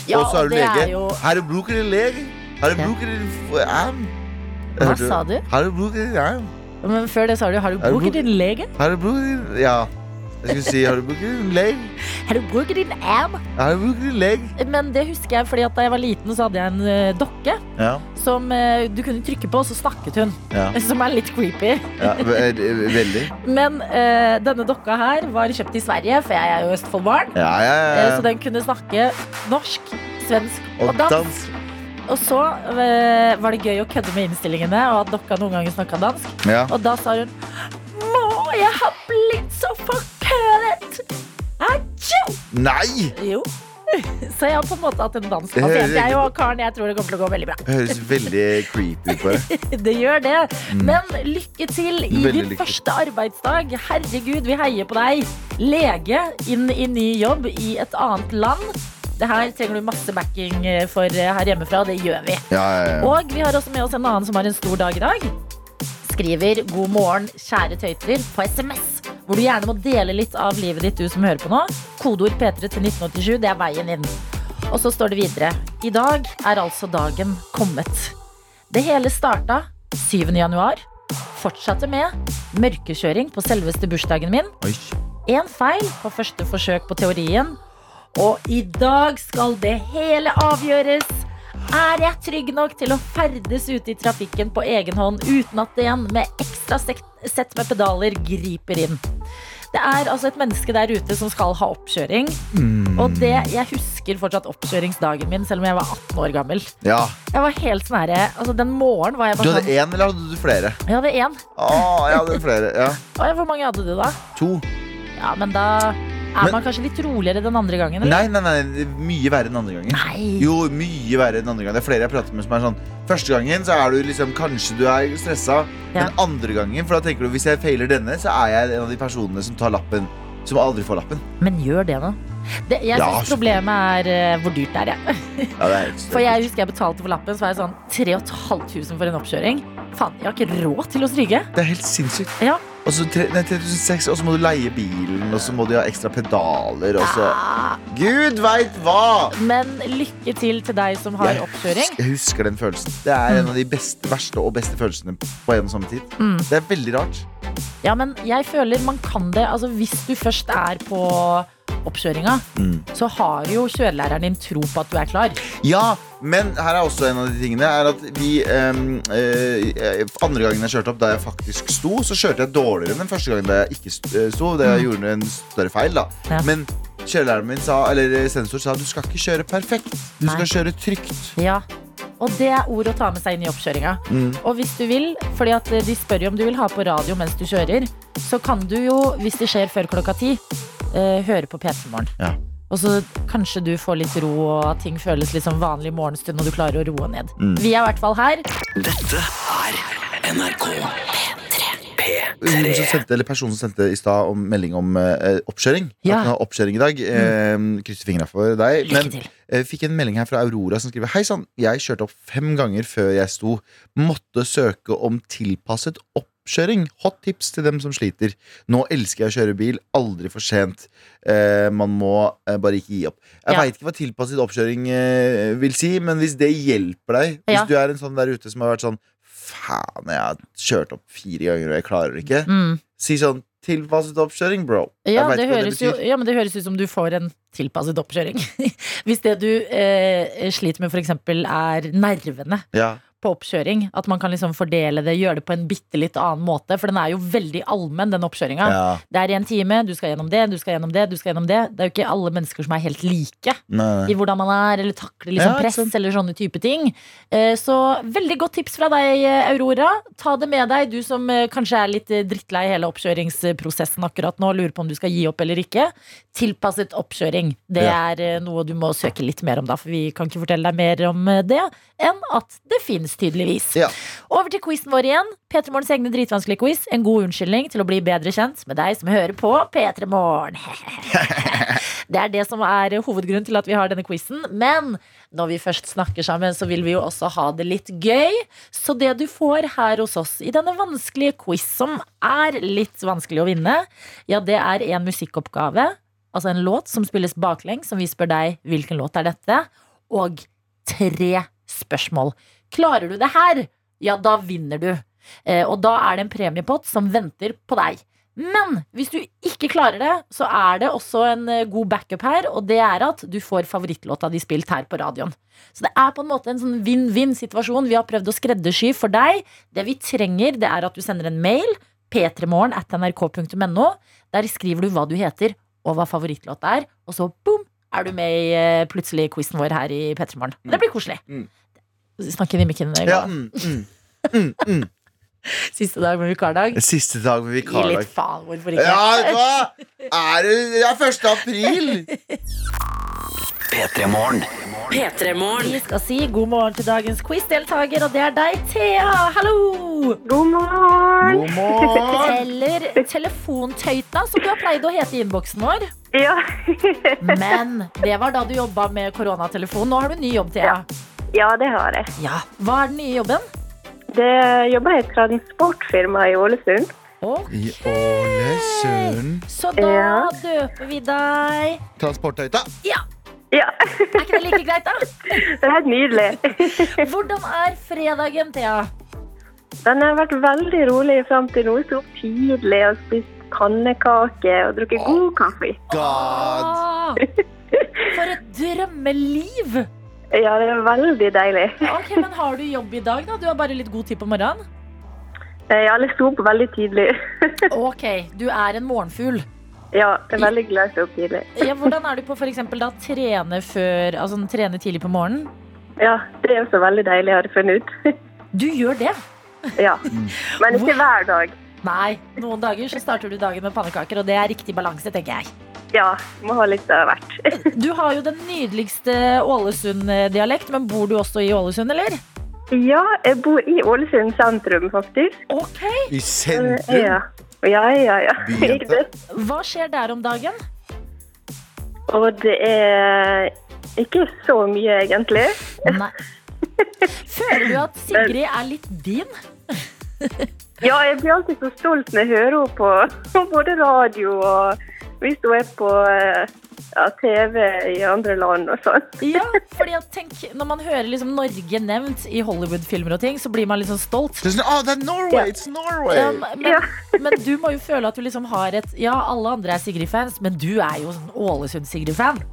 S2: Ja,
S3: og så er du
S2: det
S3: lege.
S2: er jo-
S3: Her er bruker i lege. Her er
S2: Ja.
S3: bruker i f- arm.
S2: Hva
S3: Hørte
S2: sa du?
S3: Her er bruker i arm.
S2: Men før det sa du har du
S3: Er det
S2: brukt
S3: blod?
S2: din lege?
S3: Har du brukt din Ja. Jeg skulle si har du brukt din legg?
S2: Har du brukt din arm?
S3: Har du brukt din legg?
S2: Men det husker jeg, fordi at da jeg var liten, så hadde jeg en eh, dokke
S3: Ja.
S2: som eh, du kunne trykke på, og så snakket hun.
S3: ja,
S2: Som er litt creepy.
S3: ja ve- ve- Eh, Veldig.
S2: Men eh, denne dokka her var kjøpt i Sverige, for jeg er jo Østfoldbarn.
S3: Ja, ja,
S2: Eh, så
S3: ja.
S2: den kunne snakke norsk, svensk og,
S3: Og
S2: dansk.
S3: dansk.
S2: Og så eh, var det gøy å kødde med innstillingene, og at dokka noen ganger snakka dansk.
S3: Ja.
S2: Og da sa hun Må jeg har blitt så forkølet! Atsjo!
S3: Nei!
S2: Jo. Så jeg har på en måte hatt en dansk
S3: Det
S2: pasient,
S3: hører-
S2: jeg og Karen. Jeg tror det kommer til å gå veldig bra.
S3: Det høres veldig creepy ut. bare.
S2: Det gjør det. Men lykke til i
S3: Mm. Veldig
S2: din
S3: lykke til.
S2: første arbeidsdag. Herregud, vi heier på deg. Lege inn i ny jobb i et annet land. Det her trenger du masse backing eh, for her hjemmefra, og det gjør vi.
S3: Ja, ja, ja.
S2: Og vi har også med oss en annen som har en stor dag i dag. Skriver 'God morgen, kjære tøyter' på SMS. Hvor du gjerne må dele litt av livet ditt, du som hører på nå. Kodeord P3 til 1987, det er veien inn. Og så står det videre. I dag er altså dagen kommet. Det hele starta 7. januar. Fortsatte med mørkekjøring på selveste bursdagen min.
S3: Oi.
S2: Én feil på første forsøk på teorien. Og i dag skal det hele avgjøres. Er jeg trygg nok til å ferdes ute i trafikken på egen hånd uten at en med ekstra sek- sett med pedaler griper inn? Det er altså et menneske der ute som skal ha oppkjøring.
S3: Mm.
S2: Og det, jeg husker fortsatt oppkjøringsdagen min, selv om jeg var 18 år gammel.
S3: ja.
S2: Jeg var helt sånn herre altså, Den morgenen var jeg
S3: Du
S2: bare
S3: hadde
S2: sånn.
S3: én, eller hadde du flere?
S2: Jeg hadde én.
S3: Å, jeg hadde flere. Ja.
S2: Å, ja, Hvor mange hadde du da?
S3: To.
S2: Ja, men da er
S3: Men-
S2: man kanskje litt roligere den andre gangen, eller?
S3: Nei, nei, nei. Mye verre enn andre gangen.
S2: Nei.
S3: Jo, mye verre enn andre gangen. Det er flere jeg prater med som er sånn Første gangen så er du liksom Kanskje du er stressa,
S2: Ja.
S3: men andre gangen For da tenker du hvis jeg feiler denne, så er jeg en av de personene som tar lappen. Som aldri får lappen.
S2: Men gjør det, da. Det, jeg
S3: Ja, altså.
S2: synes problemet er eh, hvor dyrt det er. jeg.
S3: Ja, det er helt
S2: For jeg husker jeg betalte for lappen, så var jeg sånn 3500 for en oppkjøring. Faen, jeg har ikke råd til å stryke.
S3: Det er helt sinnssykt.
S2: Ja.
S3: Og så tre- nei, 3006, og så må du leie bilen, og så må du ha ekstra pedaler, og så
S2: Ah,
S3: Gud veit hva!
S2: Men lykke til til deg som har
S3: Jeg
S2: oppkjøring.
S3: husker, jeg husker den følelsen. Det er en av de beste, verste og beste følelsene på en og samme tid.
S2: Mm.
S3: Det er veldig rart.
S2: Ja, men jeg føler man kan det. Altså, hvis du først er på oppkjøringa, så har jo kjørelæreren din tro på at du er klar.
S3: Ja, men her er også en av de tingene Er at vi ehm, eh, Andre gangen jeg kjørte opp da jeg faktisk sto Så kjørte jeg dårligere enn den første gangen da jeg ikke st- eh, sto Da jeg gjorde en større feil da
S2: Mm. Ja.
S3: Men kjørelæreren min sa Eller sensor sa Du skal ikke kjøre perfekt Du
S2: Nei.
S3: skal kjøre trygt
S2: Ja. Og det er ord å ta med seg inn i oppkjøringa.
S3: Mm.
S2: Og hvis du vil, fordi at eh, de spør jo om du vil ha på radio mens du kjører, så kan du jo, hvis det skjer før klokka ti, eh, høre på P3 Morgen.
S3: Ja.
S2: Og så kanskje du får litt ro, og at ting føles litt som vanlig morgenstund, og du klarer å roe ned.
S3: Mm.
S2: Vi er i hvert fall her.
S5: Dette er NRK.
S3: Hun som sendte, eller personen som sendte i stad om melding om eh, oppkjøring.
S2: Ja. Mm.
S3: At hun har oppkjøring i dag. Eh, krysser fingra for deg.
S2: Lykke
S3: Men
S2: til.
S3: eh, fikk en melding her fra Aurora som skriver Hei sann, jeg kjørte opp fem ganger før jeg sto. Måtte søke om tilpasset oppkjøring. Hot tips til dem som sliter. Nå elsker jeg å kjøre bil. Aldri for sent. Eh, man må eh, bare ikke gi opp. Jeg
S2: Ja.
S3: veit ikke hva tilpasset oppkjøring eh, vil si, men hvis det hjelper deg Hvis
S2: Ja.
S3: du er en sånn der ute som har vært sånn Faen, jeg har kjørt opp fire ganger, og jeg klarer det ikke.
S2: Mm.
S3: Si sånn tilpasset oppkjøring, bro.
S2: Ja,
S3: Jeg vet
S2: det
S3: ikke hva
S2: høres jo,
S3: betyr.
S2: ja, men det høres ut som du får en tilpasset oppkjøring. hvis det du eh, sliter med, f.eks. er nervene.
S3: ja.
S2: på oppkjøring. At man kan liksom fordele det, gjøre det på en bitte litt annen måte. For den er jo veldig allmenn, den oppkjøringa.
S3: ja.
S2: Det er en time, du skal gjennom det, du skal gjennom det, du skal gjennom det. Det er jo ikke alle mennesker som er helt like
S3: Nei, nei.
S2: i hvordan man er, eller takler
S3: Ja,
S2: liksom
S3: ikke
S2: press
S3: sant.
S2: eller sånne type ting. Eh, Så veldig godt tips fra deg, eh, Aurora. Ta det med deg, du som eh, kanskje er litt eh, drittlei hele oppkjøringsprosessen akkurat nå, og lurer på om du skal gi opp eller ikke. Tilpasset oppkjøring. Det
S3: Ja.
S2: er eh, noe du må søke litt mer om, da, for vi kan ikke fortelle deg mer om eh, det enn at det fins, tydeligvis.
S3: Ja.
S2: Over til quizen vår igjen. P3 Morgens egne dritvanskelige quiz. En god unnskyldning til å bli bedre kjent med deg som hører på P3 Morgen. Det er det som er hovedgrunnen til at vi har denne quizen. Men når vi først snakker sammen, så vil vi jo også ha det litt gøy. Så det du får her hos oss i denne vanskelige quiz, som er litt vanskelig å vinne, ja, det er en musikkoppgave. Altså en låt som spilles baklengs, som vi spør deg hvilken låt er dette. Og tre spørsmål. Klarer du det her, ja, da vinner du. Eh, Og da er det en premiepott som venter på deg. Men hvis du ikke klarer det, så er det også en eh, god backup her. Og det er at du får favorittlåta di spilt her på radioen. Så det er på en måte en sånn vinn-vinn-situasjon. Vi har prøvd å skreddersy for deg. Det vi trenger, det er at du sender en mail. p3morgen at nrk.no. Der skriver du hva du heter og hva favorittlåta er. Og så boom, er du med i eh, plutselig quizen vår her i P3 Morgen. Det blir koselig.
S3: Mm.
S2: Snakker inn i mikken. eh,
S3: Ja,
S2: Galvan.
S3: mm, mm, mm, mm.
S2: Siste dag med vikardag.
S3: Siste dag med
S2: Gi
S3: vikardag.
S2: litt faen, hvorfor ikke?
S3: Ja, vet du hva? Er det, det er 1. april!
S5: P3 Morgen.
S2: Vi skal si god morgen til dagens quizdeltaker, og det er deg, Thea. Hallo!
S7: God morgen!
S3: God morgen!
S2: Eller Telefontøyta, som du har pleid å hete i innboksen vår.
S7: Ja.
S2: Men det var da du jobba med koronatelefon. Nå har du ny jobb, Thea.
S7: ja, det har jeg.
S2: Ja. Hva er den nye jobben?
S7: Det jobber i et transportfirma i Ålesund.
S2: Og
S3: I Ålesund.
S2: så da
S7: Ja.
S2: døper vi deg
S3: Transportøyta.
S2: Ja,
S7: Ja,
S2: er ikke det like greit, da?
S7: det er helt nydelig.
S2: Hvordan er fredagen, Thea?
S7: Den har vært veldig rolig fram til nå. Sto opp tidlig og spist pannekake og drukket god kaffe.
S3: God.
S2: Ah, for et drømmeliv!
S7: Ja, det er veldig deilig.
S2: Ok, Men har du jobb i dag, da? Du har bare litt god tid på morgenen?
S7: Eh, Alle sto opp veldig tidlig.
S2: Ok, du er en morgenfugl.
S7: Ja, jeg er veldig glad i å stå opp tidlig.
S2: Ja, hvordan er du på for eksempel da trene før Altså trene tidlig på morgenen?
S7: Ja, det er også veldig deilig, har jeg funnet ut.
S2: Du gjør det?
S7: Ja. Men ikke hver dag.
S2: Nei. Noen dager så starter du dagen med pannekaker, og det er riktig balanse, tenker jeg.
S7: Ja, må ha litt av hvert.
S2: Du har jo den nydeligste Ålesund-dialekt, men bor du også i Ålesund, eller?
S7: Ja, jeg bor i Ålesund sentrum, faktisk.
S2: Ok.
S3: I sentrum.
S7: Ja, ja, ja. ja.
S3: Byjente.
S7: Det-
S2: Hva skjer der om dagen?
S7: Og det er ikke så mye, egentlig.
S2: Nei. Føler du at Sigrid er litt din?
S7: Ja, jeg blir alltid så stolt når jeg hører henne på, på både radio og hvis hun er på eh, ja, TV i andre land og sånn.
S2: Ja, fordi at tenk, når man hører liksom Norge nevnt i Hollywood-filmer og ting, så blir man litt sånn stolt.
S3: Det er sånn, Å, det er Norway! It's
S2: Ja,
S3: Norway!
S2: men,
S7: Ja.
S2: men du må jo føle at du liksom har et Ja, alle andre er Sigrid-fans, men du er jo sånn Ålesund-Sigrid-fan.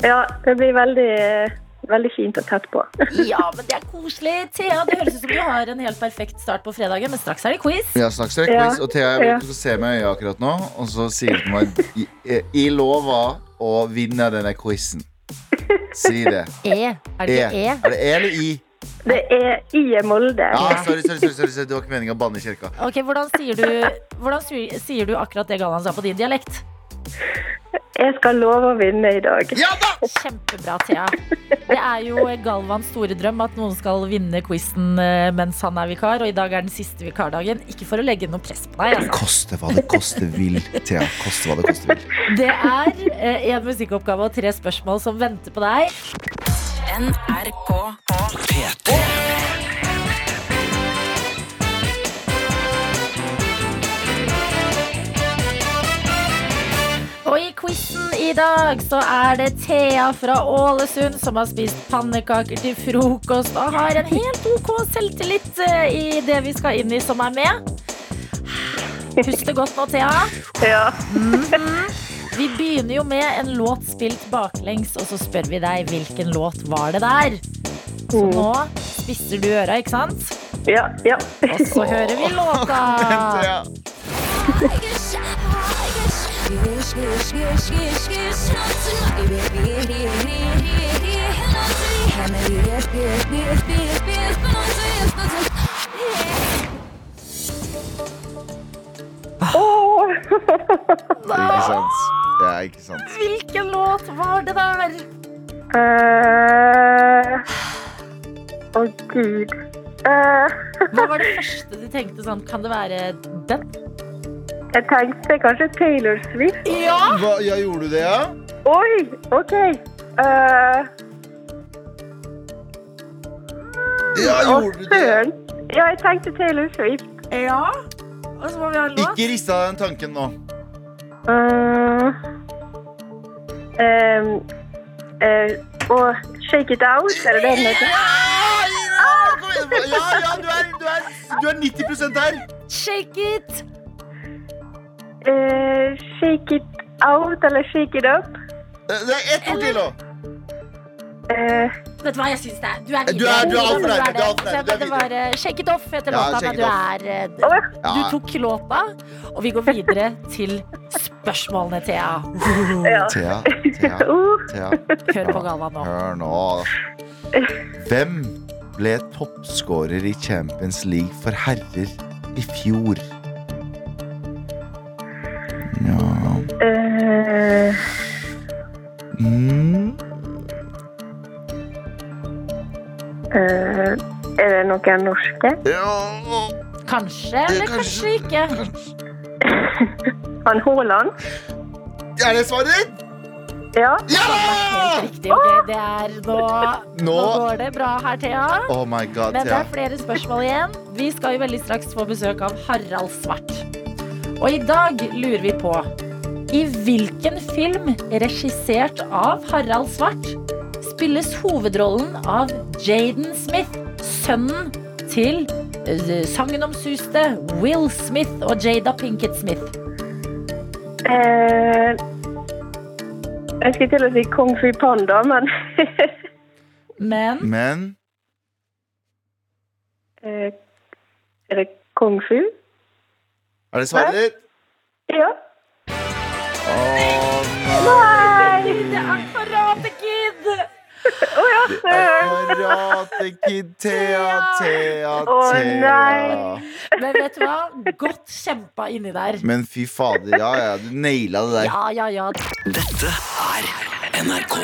S7: Ja, det blir veldig, eh, veldig fint og tett på.
S2: Ja, men det er koselig. Thea, det høres ut som du har en helt perfekt start på fredagen, men straks er det quiz.
S3: Ja, snakk strek,
S7: Ja.
S3: quiz. Og Thea, jeg vil
S7: Ja.
S3: at du skal se meg i øya akkurat nå, og så sier du til meg I, eh, I lova å vinne denne quizen. Si det.
S2: E. Er
S3: E.
S2: det ikke E?
S3: Er det E eller I?
S7: Det er i Molde.
S3: Ja, sorry, sorry, sorry, sorry, sorry. det var ikke meninga å banne i kirka.
S2: Ok, Hvordan sier du, hvordan sier sier du akkurat det Galvan sa på din dialekt?
S7: Jeg skal love å vinne i dag.
S3: Ja da!
S2: Kjempebra, Thea. Det er jo Galvans store drøm at noen skal vinne quizen eh, mens han er vikar, og i dag er den siste vikardagen. Ikke for å legge noe press på deg. altså.
S3: Koste hva det koste vil, Thea. Koste hva det koste vil.
S2: Det er eh, en musikkoppgave og tre spørsmål som venter på deg.
S5: P3.
S2: Og i quizen i dag så er det Thea fra Ålesund som har spist pannekaker til frokost og har en helt OK selvtillit eh, i det vi skal inn i, som er med. Puste godt nå, Thea.
S7: Ja.
S2: Vi begynner jo med en låt spilt baklengs, og så spør vi deg hvilken låt var det der.
S3: Mm.
S2: Så nå spisser du øra, ikke sant?
S7: Ja, ja.
S2: Og så hører vi låta.
S3: Thea. Ikke sant. Ja, ikke sant.
S2: Hvilken låt var det der?
S7: Eh, Å, gud. Eh,
S2: Hva var det første du tenkte sånn, kan det være den?
S7: jeg tenkte kanskje Taylor Swift.
S2: Ja!
S3: Hva, ja, gjorde du det, ja?
S7: Oi, OK. Eh,
S3: Ja,
S7: og
S3: gjorde du det?
S7: søren. Ja, jeg tenkte Taylor Swift.
S2: Ja! Og så må vi ha en låt.
S3: Ikke rista den tanken nå.
S7: Eh, ehm, eh, og Shake It Out, er det det den heter?
S3: Ja, ja, kom igjen. ja, ja du, er, du er Du er 90 der!
S2: Shake it!
S7: Eh, shake it out, eller shake it up.
S3: Eh, Det er ett ord til nå!
S7: Eh,
S2: Vet du hva jeg syns det er? Du er
S3: Du er- du er alt for nærme, du er alt for nærme,
S2: det.
S3: du er
S2: Det var eh, Shake It Off heter
S3: Ja,
S2: låta, men
S3: Shake It
S2: du
S3: Off.
S2: er eh,
S7: Å,
S3: Ja.
S2: Du tok låta, og vi går videre til spørsmålene, Thea.
S7: ja.
S3: Thea, Thea,
S7: Uh,
S3: Thea.
S2: Hør på Galvan nå.
S3: Hør nå. Hvem ble toppskårer i Champions League for herrer i fjor? Ja
S7: eh,
S3: mm.
S7: eh, er det noen norske?
S3: Ja.
S2: Kanskje, eller kanskje ikke.
S7: Han Haaland?
S3: Er det svaret ditt?
S7: Ja.
S3: Ja!
S2: Helt riktig. ok, Det er nå, nå
S3: Nå
S2: går det bra her, Thea.
S3: Oh my god,
S2: Men det
S3: Thea.
S2: er flere spørsmål igjen. Vi skal jo veldig straks få besøk av Harald Svart. Og i dag lurer vi på i hvilken film regissert av Harald Svart spilles hovedrollen av Jaden Smith, sønnen til eh, sagnomsuste Will Smith og Jada Pinkett Smith?
S7: Eh, jeg skulle til å si Kong Fru Panda, men
S2: Men
S3: Men
S7: eh, Er det Kung Fu?
S3: er det svaret ditt?
S7: Ja.
S3: Å nei!
S2: det er Karate Kid!
S3: Karate Kid, Thea, Thea,
S7: Å,
S3: Thea.
S7: nei.
S2: Men vet du hva? Godt kjempa inni der.
S3: Men fy fader, ja ja, du naila det der.
S2: Ja, ja, ja.
S5: Dette er NRK.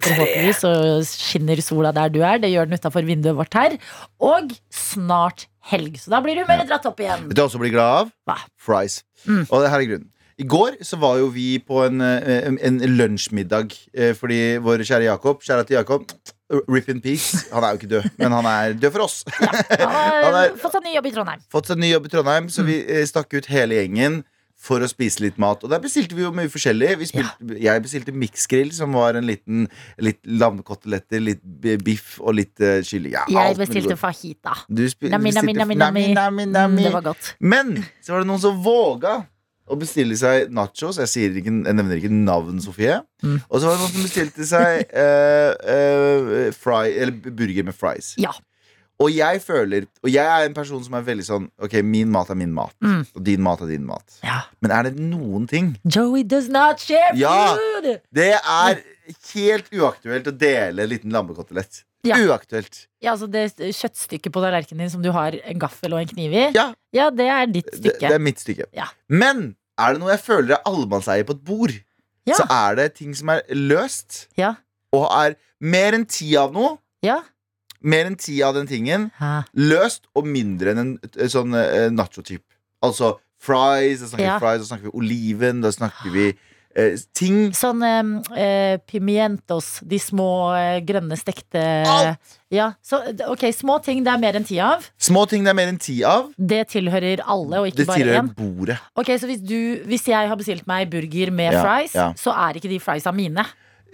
S2: Forhåpentligvis så skinner sola der du er. Det gjør den utafor vinduet vårt her. Og snart helg, så da blir humøret dratt opp igjen.
S3: Vet du hva jeg også blir glad av?
S2: Hva?
S3: Fries.
S2: Mm.
S3: Og det her er grunnen. I går så var jo vi på en, eh, en lunsjmiddag eh, fordi vår kjære Jakob Kjære til Jakob. Rip in peace. Han er jo ikke død, men han er død for oss.
S2: Han
S3: Han
S2: har
S3: er-
S2: fått seg ny jobb i Trondheim.
S3: Fått seg ny jobb i Trondheim,
S2: Mm.
S3: så vi eh, stakk ut hele gjengen for å spise litt mat. Og der bestilte vi jo mye forskjellig. Vi spilte, Jeg bestilte miksgrill, som var en liten litt lammekoteletter, litt b- biff og litt eh, kylling. Ja, alt
S2: Jeg
S3: mulig
S2: bestilte
S3: godt.
S2: fajita.
S3: Du spi-
S2: Nami, nami,
S3: bestilte-
S2: nami, nami.
S3: nami, nami,
S2: Mm,
S3: nami.
S2: Det var godt.
S3: Men så var det noen som våga å bestille seg nachos. Jeg, sier ikke, jeg nevner ikke navn, Sofie.
S2: Mm.
S3: Og så var det noen som bestilte seg eh, eh, fry, eller burger med fries.
S2: Ja.
S3: Og jeg føler Og jeg er en person som er veldig sånn Ok, min mat er min mat,
S2: Mm.
S3: og din mat er din mat.
S2: ja.
S3: Men er det noen ting
S2: Joey does not share
S3: Ja.
S2: food!
S3: Det er helt uaktuelt å dele en liten lammekotelett.
S2: Ja.
S3: Uaktuelt.
S2: Ja, altså det kjøttstykket på tallerkenen din som du har en gaffel og en kniv i,
S3: Ja.
S2: ja det er ditt
S3: Det, det
S2: stykke.
S3: er mitt stykke.
S2: Ja.
S3: Men er det noe jeg føler er allemannseie på et bord,
S2: Ja.
S3: så er det ting som er løst,
S2: Ja.
S3: og er mer enn ti av noe.
S2: Ja.
S3: Mer enn ti av den tingen.
S2: Ja.
S3: Løst og mindre enn en eh, sånn eh, nacho-typ. Altså fries, da snakker
S2: Ja.
S3: vi fries, da snakker vi oliven, da snakker vi eh, ting.
S2: Sånn eh, eh, pimientos, de små eh, grønne stekte
S3: Alt!
S2: Ja, så ok, små ting det er mer enn ti av.
S3: Små ting det er mer enn ti av.
S2: Det tilhører alle, og ikke
S3: Det
S2: bare én.
S3: tilhører bordet.
S2: Ok, Så hvis, du, hvis jeg har bestilt meg burger med
S3: Ja,
S2: fries,
S3: ja.
S2: så er ikke de friesa mine.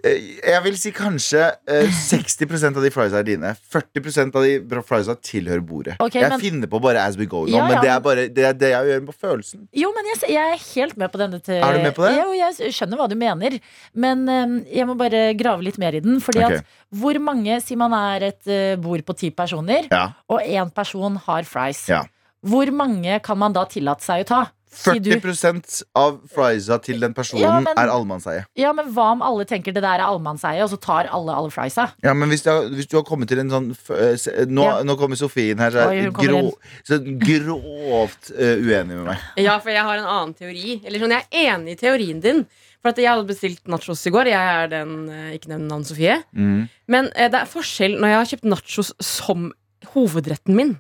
S3: Eh, Jeg vil si kanskje eh, 60 av de friesa er dine. 40 av de bra friesa tilhører bordet.
S2: Ok,
S3: jeg
S2: men-
S3: finner på bare as we go nå,
S2: Ja, ja.
S3: men det er bare det, er det jeg gjør på følelsen.
S2: Jo, men jeg, s- jeg er helt med på denne. Til,
S3: Er du med på det?
S2: Jo, jeg s- skjønner hva du mener, men eh, jeg må bare grave litt mer i den. Fordi
S3: Ok.
S2: at hvor mange Si man er et eh, bord på ti personer,
S3: Ja.
S2: og én person har fries.
S3: Ja.
S2: Hvor mange kan man da tillate seg å ta? Si du-
S3: 40 av friesa til den personen
S2: Ja, men-
S3: er allemannseie.
S2: Ja, men Hva om alle tenker det der er allemannseie, og så tar alle alle friesa?
S3: Ja, men hvis du, har, hvis du har kommet til en sånn f- eh, se- eh, Nå,
S2: Ja.
S3: nå kommer Sofie inn her, så
S2: Oi,
S3: er
S2: hun kommer
S3: grå, så grovt eh, uenig med meg.
S4: Ja, for jeg har en annen teori. Eller sånn, Jeg er enig i teorien din. For at Jeg hadde bestilt nachos i går. Jeg er den eh, ikke nevn navn Sofie.
S3: Mm.
S4: Men eh, det er forskjell når jeg har kjøpt nachos som hovedretten min.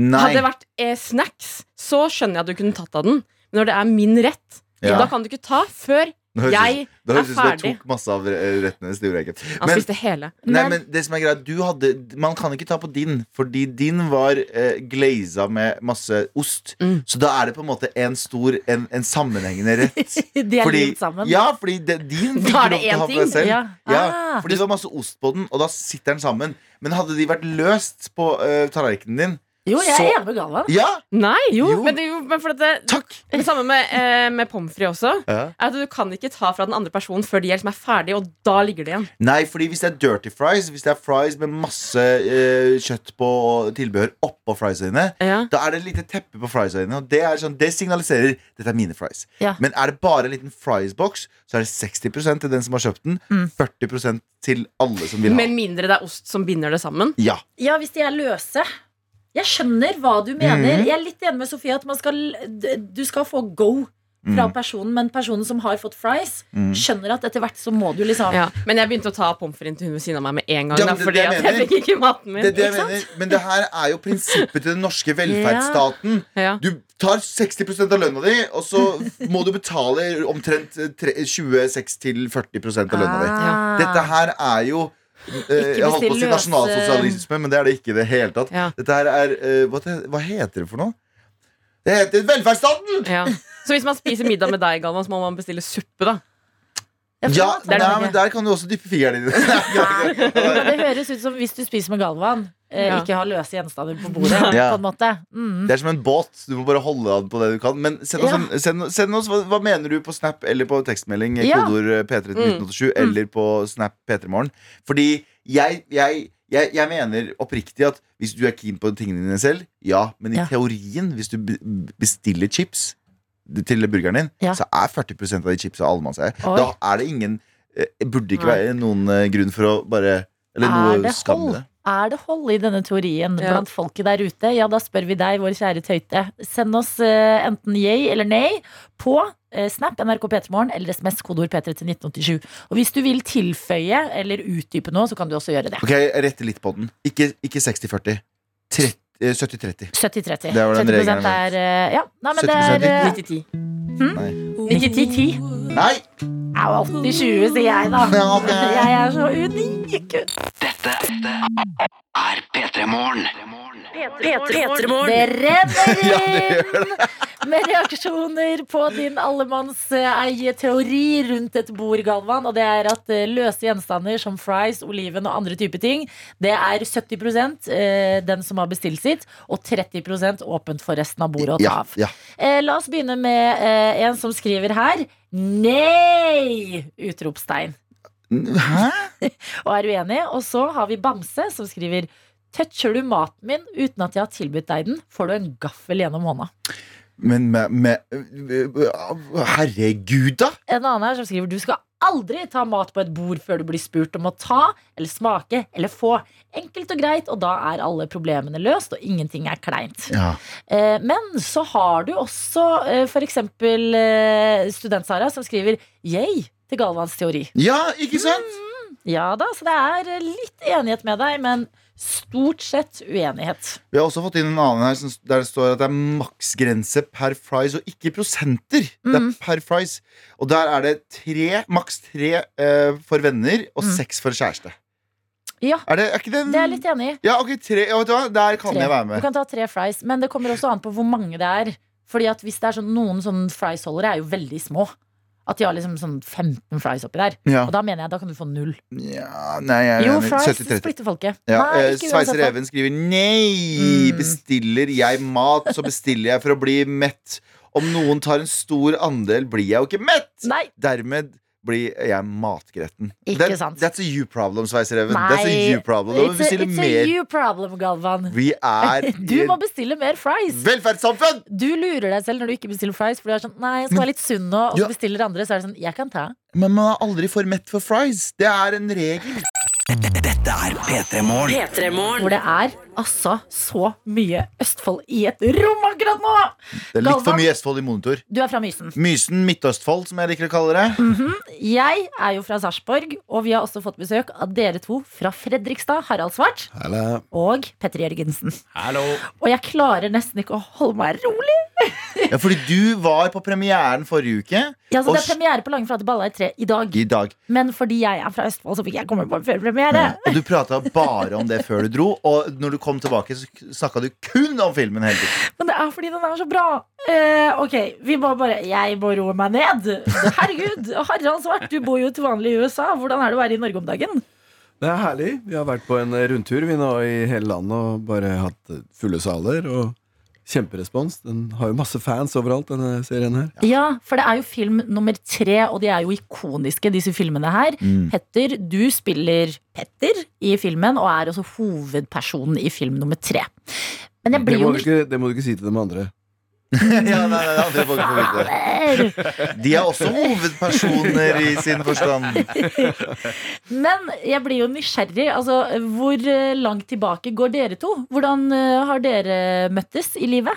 S3: Nei.
S4: Hadde det vært eh, snacks, så skjønner jeg at du kunne tatt av den. Men når det er min rett,
S3: Ja.
S4: da kan du ikke ta før
S3: Nå høres
S4: jeg
S3: ut- nå
S4: er
S3: høres ut som jeg
S4: ferdig.
S3: tok masse av eh, rettene hennes. Det gjorde jeg ikke.
S4: Han
S3: Men-
S4: spiste hele.
S3: Nei,
S2: Men-
S3: men det som er greit, du hadde Man kan ikke ta på din, fordi din var eh, glaza med masse ost.
S4: Mm.
S3: Så da er det på en måte en stor, en, en sammenhengende rett.
S2: De er
S3: Fordi,
S2: limt sammen.
S3: ja, fordi det, din fikk
S4: Da er
S3: lov
S4: det
S3: til å
S4: én
S3: ha for deg
S4: ting.
S3: selv.
S2: Ja. Ah.
S3: fordi det var masse ost på den, og da sitter den sammen. Men hadde de vært løst på eh, tallerkenen din,
S2: Jo, jeg er
S3: Så-
S2: enig med Galvan.
S3: Ja!
S4: Nei, jo,
S3: Jo.
S4: men, det, jo, men for dette
S3: Takk!
S4: Det samme med, eh, med pommes frites også.
S3: Ja.
S4: Er at Du kan ikke ta fra den andre personen før de liksom er ferdig, og da ligger det igjen.
S3: Nei, fordi hvis det er dirty fries, hvis det er fries med masse eh, kjøtt på og tilbehør oppå friesa dine, da er det et lite teppe på friesa dine, og det, er sånn, det signaliserer dette er mine fries.
S2: Ja.
S3: Men er det bare en liten friesboks, så er det 60 til den som har kjøpt den,
S4: Mm.
S3: 40 til alle som vil ha.
S4: Med mindre det er ost som binder det sammen.
S3: Ja.
S2: Ja, hvis de er løse. Jeg skjønner hva du mener.
S3: Mhm.
S2: Jeg er litt enig med Sofie at man skal, d- du skal få go
S3: Mhm.
S2: fra personen, men personen som har fått fries, skjønner at etter hvert så må du liksom
S4: Ja. Men jeg begynte å ta pommes frites til hun ved siden av meg med en gang.
S3: Ja,
S4: da,
S3: men det-
S4: fordi
S3: det jeg
S4: at jeg
S3: mener.
S4: fikk ikke maten min.
S3: Det, er det jeg
S4: ikke sant?
S3: mener, men det her er jo prinsippet til den norske velferdsstaten.
S4: Ja.
S3: Du tar 60 av lønna di, og så må du betale omtrent eh, tre- 26-40 av lønna di.
S2: Ah.
S3: Dette her er jo eh, Jeg holdt på
S2: bestill
S3: å si
S2: løse- eh,
S3: nasjonalsosialisme, men det er det ikke i det hele tatt.
S4: Ja.
S3: Dette her er eh, hva, det- hva heter det for noe? Det heter velferdsstaten!
S4: Ja. Så hvis man spiser middag med deg, Galvan, så må man bestille suppe, da.
S2: Ja, for
S3: Ja,
S2: det
S3: nei,
S2: er det
S3: men
S2: ikke.
S3: Der kan du også dyppe fingeren din.
S2: Men det høres ut som hvis du spiser med Galvan, eh,
S4: Ja.
S2: ikke har løse gjenstander på bordet.
S3: Ja.
S2: På en måte mm.
S3: Det er som en båt. Du må bare holde an på det du kan. Men send oss,
S2: Ja.
S3: en, send, send oss hva, hva mener du på Snap eller på tekstmelding.
S2: Ja. Mm.
S3: Kodord eh, P3 til 1987 eller på Snap P3morgen. Fordi jeg, jeg, jeg, jeg mener oppriktig at hvis du er keen på tingene dine selv, ja. Men i
S2: Ja.
S3: teorien, hvis du be- bestiller chips til burgeren din,
S2: Ja.
S3: så er 40 av de chipsa allemannseie.
S2: Oi.
S3: Da er det ingen eh, Burde ikke
S4: Nei.
S3: være noen eh, grunn for å bare Eller
S2: Er
S3: noe
S2: det
S3: skam i
S2: hold?
S3: det.
S2: Er det hold i denne teorien
S4: Ja.
S2: blant folket der ute? Ja, da spør vi deg, vår kjære Tøyte. Send oss eh, enten yay eller nei på eh, Snap NRK P3morgen eller SMS kodeord P3 til 1987. Og hvis du vil tilføye eller utdype noe, så kan du også gjøre det.
S3: Ok, jeg retter litt på den. Ikke, ikke 60-40. 30 eh, 70-30.
S2: 70-30.
S3: Det var den
S2: 70
S3: regelen jeg
S2: er eh, Ja, nei, men det er eh, Hm?
S4: 90-10.
S3: Nei.
S2: 90-10.
S3: Nei!
S2: Au, 80-20, sier jeg da.
S3: Ja, ok.
S2: Jeg er så unik.
S5: er P3 Morgen.
S2: Det renner inn med reaksjoner på din allemannseie-teori rundt et bord, Galvan. Og det er at eh, løse gjenstander som fries, oliven og andre typer ting, det er 70 eh, den som har bestilt sitt, og 30 åpent for resten av bordet å ta
S3: Ja,
S2: av.
S3: ja.
S2: Eh, La oss begynne med eh, en som skriver her. Nei! Utropstegn.
S3: Hæ?
S2: Og er uenig. Og så har vi Bamse, som skriver Toucher du maten min uten at jeg har tilbudt deg den, får du en gaffel gjennom hånda.
S3: Men med, med Herregud, da!
S2: En annen her som skriver Du skal aldri ta mat på et bord før du blir spurt om å ta eller smake eller få. Enkelt og greit, og da er alle problemene løst, og ingenting er kleint.
S3: Ja.
S2: Eh, Men så har du også eh, for eksempel eh, student Sara som skriver yay til Galvans teori.
S3: ja, ikke sant?
S2: Ja da, så det er eh, litt enighet med deg, men stort sett uenighet.
S3: Vi har også fått inn en annen her som- der det står at det er maksgrense per fries, og ikke prosenter. Det
S2: Mm.
S3: er per fries. Og der er det tre, maks tre eh, for venner og
S2: Mm.
S3: seks for kjæreste.
S2: Ja,
S3: Er det er ikke den
S2: det er jeg litt enig i.
S3: Ja, ok, tre. Ja, vet du hva? Der kan
S2: Tre.
S3: jeg være med.
S2: Du kan ta tre fries, men det kommer også an på hvor mange det er. Fordi at hvis det er sånn, Noen sånn fries-holdere er jo veldig små. At de har liksom sånn 15 fries oppi der.
S3: Ja.
S2: Og da mener jeg da kan du få null.
S3: ja nei, jeg
S2: Jo,
S3: er enig.
S2: fries
S3: 70-30.
S2: splitter folket.
S3: Ja,
S2: Nei,
S3: eh,
S2: ikke
S3: Sveiser
S2: uansett.
S3: Even skriver Nei,
S2: Mm.
S3: bestiller jeg mat Så bestiller jeg for å bli mett Om noen tar en stor andel Blir jeg jo ikke mett
S2: Nei,
S3: Dermed blir jeg matgretten
S2: Ikke
S3: That-
S2: sant.
S3: That's a you problem, Sveiser Even
S2: nei.
S3: That's a you problem Da må
S2: It's a,
S3: vi bestille
S2: it's a
S3: mer
S2: you problem, Galvan.
S3: Vi er
S2: Du
S3: i
S2: må bestille mer fries.
S3: velferdssamfunn
S2: Du lurer deg selv når du ikke bestiller fries. For du er sånn, nei, jeg skal være litt sunn nå Og
S3: Ja.
S2: så bestiller andre, så er det sånn, jeg kan ta.
S3: Men man er aldri for mett for fries Det er en regel
S5: Dette er P3 Morgen.
S2: Hvor det er altså så mye Østfold i et rom akkurat nå!
S3: Det er litt for
S2: Galvan.
S3: mye Østfold i monitor
S2: Du er fra Mysen.
S3: Mysen Midtøstfold, som jeg liker å kalle det
S2: Mm. Jeg er jo fra Sarpsborg, og vi har også fått besøk av dere to fra Fredrikstad. Harald Svart og Petter Jørgensen. Og jeg klarer nesten ikke å holde meg rolig.
S3: ja, Fordi du var på premieren forrige uke
S2: Ja, så
S3: Og
S2: det
S3: s-
S2: er premiere på Langflate Balla i tre i dag.
S3: I dag
S2: Men fordi jeg er fra Østfold, så fikk jeg komme på en førpremiere.
S3: Ja, Og du prata bare om det før du dro, og når du kom tilbake, så snakka du kun om filmen hele tiden.
S2: Men det er fordi den er så bra. Eh, ok, vi må bare Jeg må roe meg ned. Herregud, Harald Svart, du bor jo til vanlig i USA. Hvordan er det å være i Norge om dagen?
S8: Det er herlig. Vi har vært på en rundtur vi nå i hele landet og bare hatt fulle saler. og Kjemperespons. Den har jo masse fans overalt, denne serien her.
S2: Ja, for det er jo film nummer tre, og de er jo ikoniske, disse filmene her.
S8: Mm.
S2: Petter, du spiller Petter i filmen, og er også hovedpersonen i film nummer tre. Men jeg
S8: Det
S2: blir jo
S8: må, du ikke, det må du ikke si til de andre.
S3: Ja, nei, nei, andre folk får vite det.
S2: litt
S3: De er også hovedpersoner i sin forstand.
S2: Men jeg blir jo nysgjerrig. Altså, hvor eh, langt tilbake går dere to? Hvordan eh, har dere møttes i livet?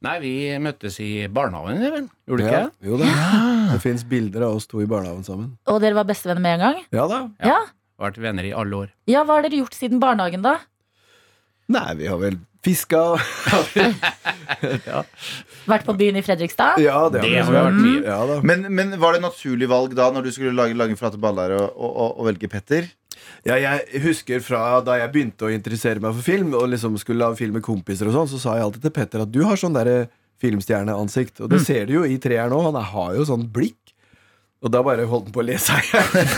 S9: Nei, vi møttes i barnehagen, vi vel? Gjorde vi
S8: Ja,
S9: ikke det?
S8: Jo da. Det fins bilder av oss to i barnehagen sammen.
S2: Og dere var bestevenner med en gang?
S8: Ja da.
S2: Ja.
S9: Vært venner i alle år.
S2: ja, hva har dere gjort siden barnehagen, da?
S8: Nei, vi har vel fiska og
S2: Vært på byen i Fredrikstad?
S8: Ja, det
S9: Det
S8: har
S9: har vært mye.
S8: Ja da.
S3: Men, men var det naturlig valg da, når du skulle lage, lage flate baller og, og, og, og velge Petter?
S8: Ja, jeg husker fra da jeg begynte å interessere meg for film, og liksom skulle lage film med kompiser, og sånn, så sa jeg alltid til Petter at du har sånn derre filmstjerneansikt. Og det ser du jo i treeren òg. Han er- har jo sånn blikk. Og da bare holdt han på å le seg i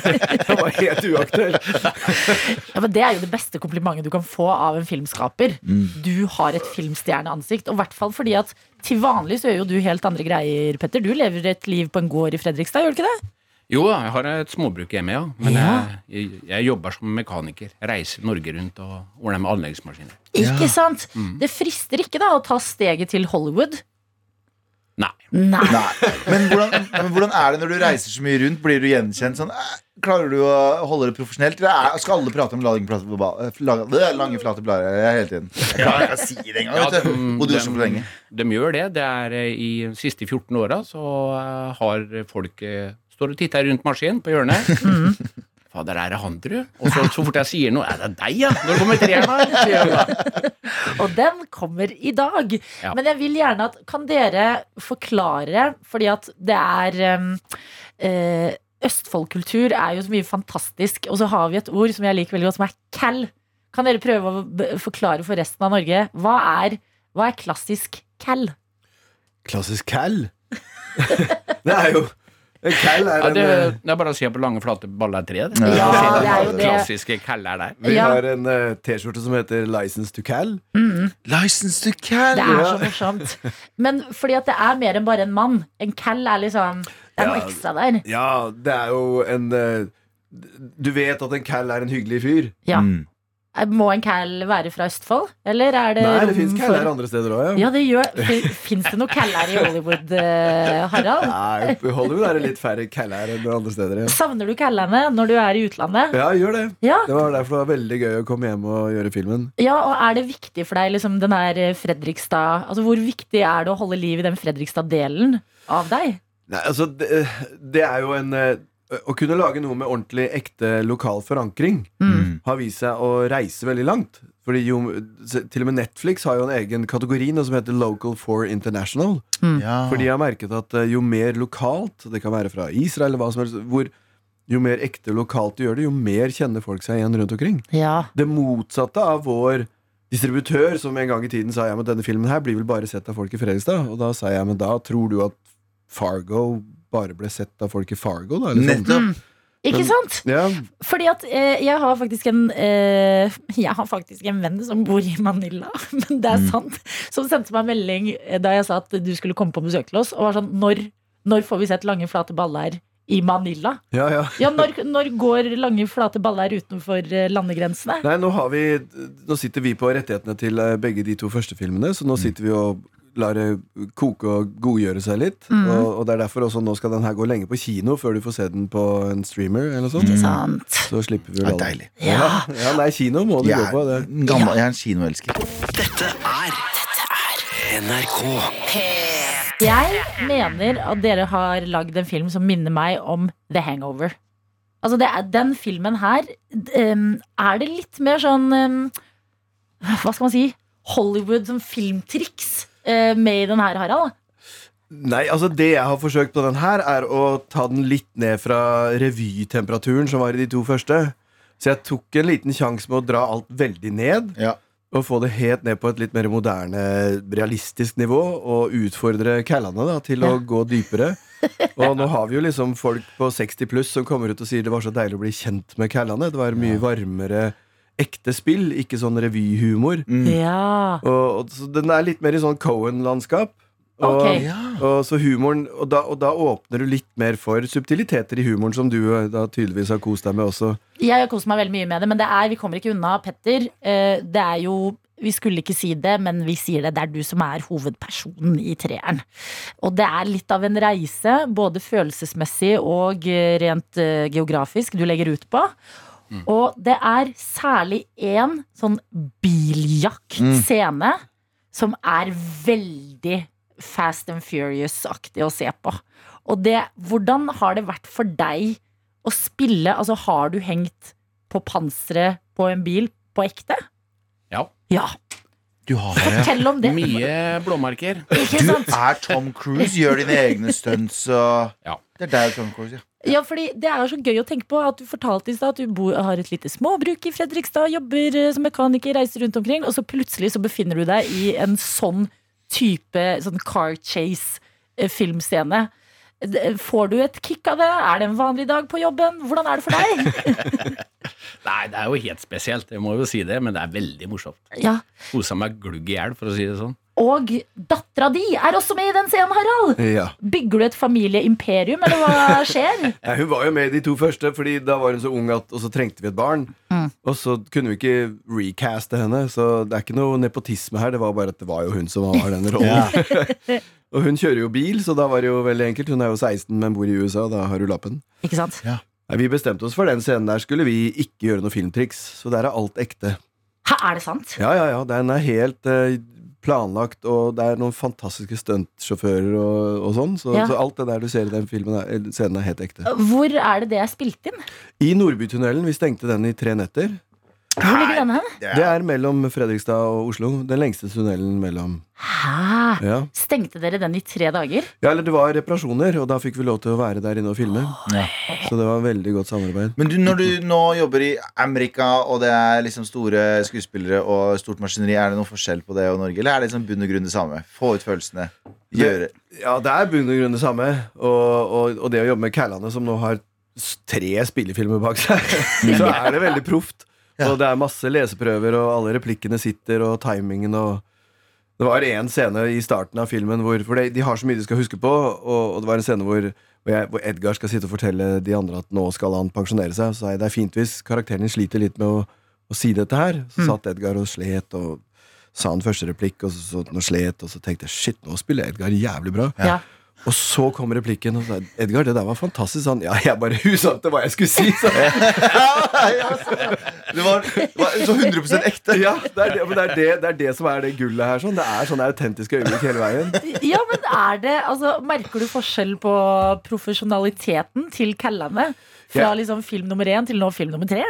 S8: Det var helt uaktuelt.
S2: Ja, men Det er jo det beste komplimentet du kan få av en filmskaper. Du har et filmstjerneansikt. Og i hvert fall fordi at til vanlig så gjør jo du helt andre greier, Petter. Du lever et liv på en gård i Fredrikstad, gjør du ikke det?
S9: Jo da, jeg har et småbruk hjemme, ja. Men
S2: Ja.
S9: Jeg, jeg, jeg jobber som mekaniker. Reiser Norge rundt og ordner med anleggsmaskiner.
S2: Ikke sant? Det frister ikke da å ta steget til Hollywood.
S9: Nei.
S2: Nei.
S3: Nei. Men hvordan, men hvordan er det når du reiser så mye rundt? Blir du gjenkjent sånn? eh, Klarer du å holde det profesjonelt? Eller er- skal alle prate om lange, flate, ba- eh, lange, det er lange flate blader hele tiden? Jeg klarer ikke å si det engang.
S9: Ja,
S3: vet du.
S9: dem-
S3: Bodde i Oslo
S9: dem-
S3: for lenge.
S9: De gjør det. det er eh, I de siste 14 åra så eh, har folk eh, Står og titter rundt maskinen på hjørnet.
S2: Mm.
S9: Fader, er det han, tru? Og så, så fort jeg sier noe Er det deg, ja? Når kommer treeren, da? sier de da.
S2: Og den kommer i dag.
S9: Ja.
S2: Men jeg vil gjerne at Kan dere forklare, fordi at det er um, eh, Østfoldkultur er jo så mye fantastisk, og så har vi et ord som jeg liker veldig godt, som er cal. Kan dere prøve å b- forklare for resten av Norge hva er, hva er klassisk cal?
S8: Klassisk cal. Det er jo En cal er
S9: Ja, det,
S8: en eh,
S9: det er bare å se på lange, flate baller tre. det.
S2: Ja,
S9: Se
S2: det er jo
S9: den
S2: det.
S9: Klassiske kæller der.
S8: Vi
S2: Ja. Mm.
S8: har en eh, T-skjorte som heter License to Cal.
S3: License to cal!
S2: Det er så morsomt. Men fordi at det er mer enn bare en mann. En cal er liksom Det er noe
S8: Ja.
S2: ekstra der.
S8: Ja, det er jo en eh, Du vet at en cal er en hyggelig fyr.
S2: Ja.
S3: Mm,
S2: Må en cal være fra Østfold, eller er det
S8: Nei, det
S2: rom
S8: fins
S2: Eh, for-
S8: caller andre steder òg,
S2: Ja, det gjør Fins det noe kæller i Hollywood, eh, Harald?
S8: Nei, i Hollywood er det litt færre caller enn andre steder. Ja.
S2: Savner du kællerne når du er i utlandet?
S8: ja, gjør det.
S2: Ja,
S8: Det var derfor det var veldig gøy å komme hjem og gjøre filmen.
S2: ja og er det viktig for deg, liksom, den her eh, Fredrikstad Altså, hvor viktig er det å holde liv i den Fredrikstad-delen av deg?
S8: Nei, altså, det, det er jo en eh, Å kunne lage noe med ordentlig ekte lokal forankring
S3: Mm,
S8: har vist seg å reise veldig langt. Fordi jo, Til og med Netflix har jo en egen kategori nå som heter Local for International.
S3: Ja.
S8: Fordi jeg har merket at eh, jo mer lokalt, det kan være fra Israel eller hva som helst, hvor, jo mer ekte lokalt du gjør det, jo mer kjenner folk seg igjen rundt omkring.
S2: Ja.
S8: det motsatte av vår distributør, som en gang i tiden sa ja, men denne filmen her blir vel bare sett av folk i Fredrikstad. Og da sa jeg men da tror du at Fargo bare ble sett av folk i Fargo, da? Eller sånn.
S3: Nettopp.
S2: Ikke
S8: Men-
S2: sant?
S8: Ja,
S2: Fordi at eh, jeg har faktisk en eh, Jeg har faktisk en venn som bor i Manila, men det er sant, som sendte meg en melding eh, da jeg sa at du skulle komme på besøk til oss, og var sånn Når, når får vi sett lange, flate baller i Manila?
S8: ja, ja.
S2: Ja, når, når går lange, flate baller utenfor eh, landegrensene?
S8: Nei, nå, har vi, nå sitter vi på rettighetene til eh, begge de to første filmene, så nå sitter vi og lar det koke og godgjøre seg litt. Og, og det er derfor også nå skal den her gå lenge på kino før du får se den på en streamer eller noe sånt.
S2: Ikke sant?
S8: Så slipper vi
S3: Det
S8: vel
S3: er deilig.
S8: Ja, ja, nei, kino må du gå
S3: Jeg
S8: på.
S3: er,
S8: Det.
S3: en gammel, jeg er en kinoelsker.
S5: Dette er NRK.
S2: Jeg mener at dere har lagd en film som minner meg om The Hangover. Altså, det er, den filmen her d- em, Er det litt mer sånn em, Hva skal man si? Hollywood som filmtriks eh, med i den her, Harald.
S8: Nei, altså Det jeg har forsøkt på den her, er å ta den litt ned fra revytemperaturen som var i de to første. Så jeg tok en liten sjanse med å dra alt veldig ned.
S3: Ja.
S8: Å få det helt ned på et litt mer moderne, realistisk nivå, og utfordre callene da, til å gå dypere. Og nå har vi jo liksom folk på 60 pluss som kommer ut og sier det var så deilig å bli kjent med callene. Det var mye varmere ekte spill, ikke sånn revyhumor.
S2: Ja.
S8: Og, og så Den er litt mer i sånn Cohen-landskap. Og,
S2: Ok.
S8: og så humoren og da, og da åpner du litt mer for subtiliteter i humoren, som du eh, da tydeligvis har kost deg med også.
S2: Jeg har kost meg veldig mye med det, men det er, vi kommer ikke unna Petter. eh, Det er jo Vi skulle ikke si det, men vi sier det. Det er du som er hovedpersonen i treeren. Og det er litt av en reise, både følelsesmessig og eh, rent eh, geografisk, du legger ut på. Og det er særlig én sånn biljakt-scene som er veldig Fast and Furious-aktig å se på. Og det, hvordan har det vært for deg å spille Altså, har du hengt på panseret på en bil på ekte?
S9: Ja.
S2: Ja,
S3: Du har
S2: Fortell om det.
S9: Mye blåmerker.
S2: Ikke
S3: Du
S2: sant?
S3: er Tom Cruise, gjør dine egne stunts og
S9: Ja.
S3: Det er deg og Tom Cruise, ja.
S2: Ja, fordi Det er så gøy å tenke på at du fortalte i stad at du bor, har et lite småbruk i Fredrikstad, jobber eh, som mekaniker, reiser rundt omkring, og så plutselig så befinner du deg i en sånn type sånn car chase-filmscene. Får du et kick av det? Er det en vanlig dag på jobben? Hvordan er det for deg?
S9: Nei, det er jo helt spesielt, jeg må jo si det, men det er veldig morsomt.
S2: Ja,
S9: Kosa meg glugg i hjel, for å si det sånn.
S2: Og dattera di er også med i den scenen, Harald!
S8: Ja.
S2: Bygger du et familieimperium, eller hva skjer?
S8: Ja, hun var jo med i de to første, Fordi da var hun så ung at Og så trengte vi et barn. Og så kunne vi ikke recaste henne, så det er ikke noe nepotisme her. Det var bare at det var jo hun som var den rollen. og hun kjører jo bil, så da var det jo veldig enkelt. Hun er jo 16, men bor i USA, og da har hun lappen.
S2: Ikke sant?
S8: Nei, Vi bestemte oss for den scenen der skulle vi ikke gjøre noe filmtriks. Så der er alt ekte.
S2: Hæ, er det sant?
S8: Ja, ja, ja, Den er helt eh, planlagt, og det er noen fantastiske stuntsjåfører og, og sånn. Så,
S2: Ja.
S8: så alt det der du ser i den filmen er, eller scenen, er helt ekte.
S2: Hvor er det det er spilt inn?
S8: I Nordbytunnelen. Vi stengte den i tre netter.
S2: Hvor ligger denne hen?
S8: Det er mellom Fredrikstad og Oslo. Den lengste tunnelen mellom.
S2: Hæ?
S8: Ja.
S2: Stengte dere den i tre dager?
S8: ja, eller det var reparasjoner, og da fikk vi lov til å være der inne og filme. Så det var veldig godt samarbeid.
S3: Men du, når du nå jobber i Amerika, og det er liksom store skuespillere og stort maskineri, er det noen forskjell på det og Norge? Eller er det liksom bunn og grunn det samme? Få ut følelsene. Gjøre.
S8: Ja, det er bunn og grunn det samme. Og, og, og det å jobbe med Kærlandet, som nå har s- tre spillefilmer bak seg, så er det veldig proft. Og det er masse leseprøver, og alle replikkene sitter, og timingen og Det var én scene i starten av filmen hvor For de, de har så mye de skal huske på, og, og det var en scene hvor hvor, jeg, hvor Edgar skal sitte og fortelle de andre at nå skal han pensjonere seg. Så sa jeg det er fint hvis karakteren din sliter litt med å, å si dette her. Så satt Edgar og slet og sa en første replikk, og så så den og slet, og så tenkte jeg shit, nå spiller Edgar jævlig bra.
S2: Ja.
S8: Og så kom replikken, og så sa jeg, Edgar, det der var fantastisk. Sånn, ja, jeg bare husante hva jeg skulle si. Så,
S3: Det var, det var så 100 ekte.
S8: ja, det er det, men det, er det, det er det som er det gullet her. Sånn. Det er sånne autentiske øyeblikk hele veien.
S2: Ja, men er det Altså, merker du forskjell på profesjonaliteten til callene? Fra
S8: Ja.
S2: liksom film nummer én til nå film nummer tre?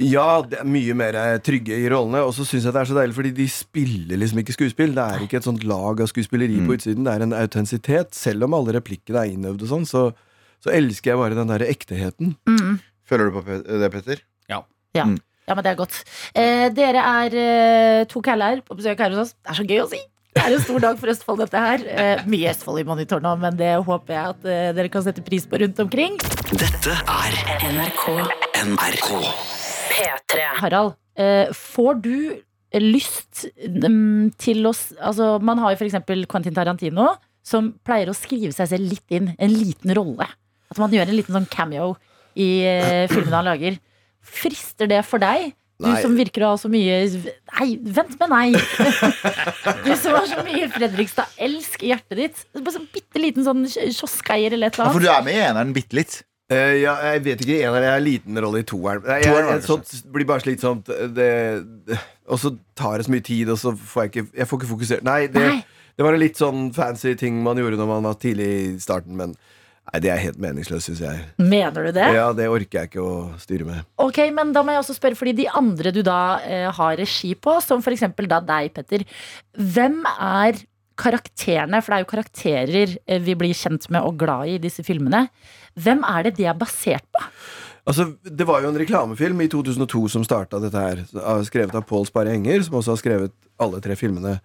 S8: Ja, det er mye mer eh, trygge i rollene. Og så syns jeg det er så deilig, fordi de spiller liksom ikke skuespill. Det er ikke et sånt lag av skuespilleri på utsiden. Det er en autentisitet. Selv om alle replikkene er innøvd og sånn, så, så elsker jeg bare den derre ekteheten.
S3: Føler du på Pe- det, Petter?
S2: Ja, men det er godt. Eh, dere er eh, to caller på besøk her hos oss. Det er så gøy å si! Det er en stor dag for Østfold, dette her. Eh, mye Østfold i monitor nå, men det håper jeg at eh, dere kan sette pris på rundt omkring.
S5: Dette er NRK. NRK.
S2: Harald, eh, får du eh, lyst mm, til å s- altså, Man har jo f.eks. Quentin Tarantino, som pleier å skrive seg selv litt inn. En liten rolle. At man gjør en liten sånn cameo i eh, filmene han lager. Frister det for deg? Du
S8: Nei.
S2: som virker å ha så mye Nei, vent med nei! du som har så mye Fredrikstad-elsk i hjertet ditt. Bare sånn bitte liten sånn kj- kioskeier eller et
S3: Ja, for
S2: eller annet.
S3: du er med i eneren bitte litt.
S8: Eh, ja, jeg vet ikke. En av dem er en liten rolle i toeren. Nei, Jeg, jeg,
S3: Toeren var det
S8: sånt blir bare slitsomt. Det, det, og så tar det så mye tid, og så får jeg ikke Jeg får ikke fokusert. Nei, det,
S2: Nei.
S8: det var en litt sånn fancy ting man gjorde når man var tidlig i starten, men nei, det er helt meningsløst, syns jeg.
S2: Mener du det?
S8: Ja, det orker jeg ikke å styre med.
S2: Ok, men da må jeg også spørre, fordi de andre du da eh, har regi på, som for eksempel da deg, Petter, hvem er karakterene, for det er jo karakterer eh, vi blir kjent med og glad i i disse filmene, hvem er det de er basert på?
S8: Altså, det var jo en reklamefilm i 2002 som starta dette her. av- Skrevet av Pål Sparre Enger, som også har skrevet alle tre filmene.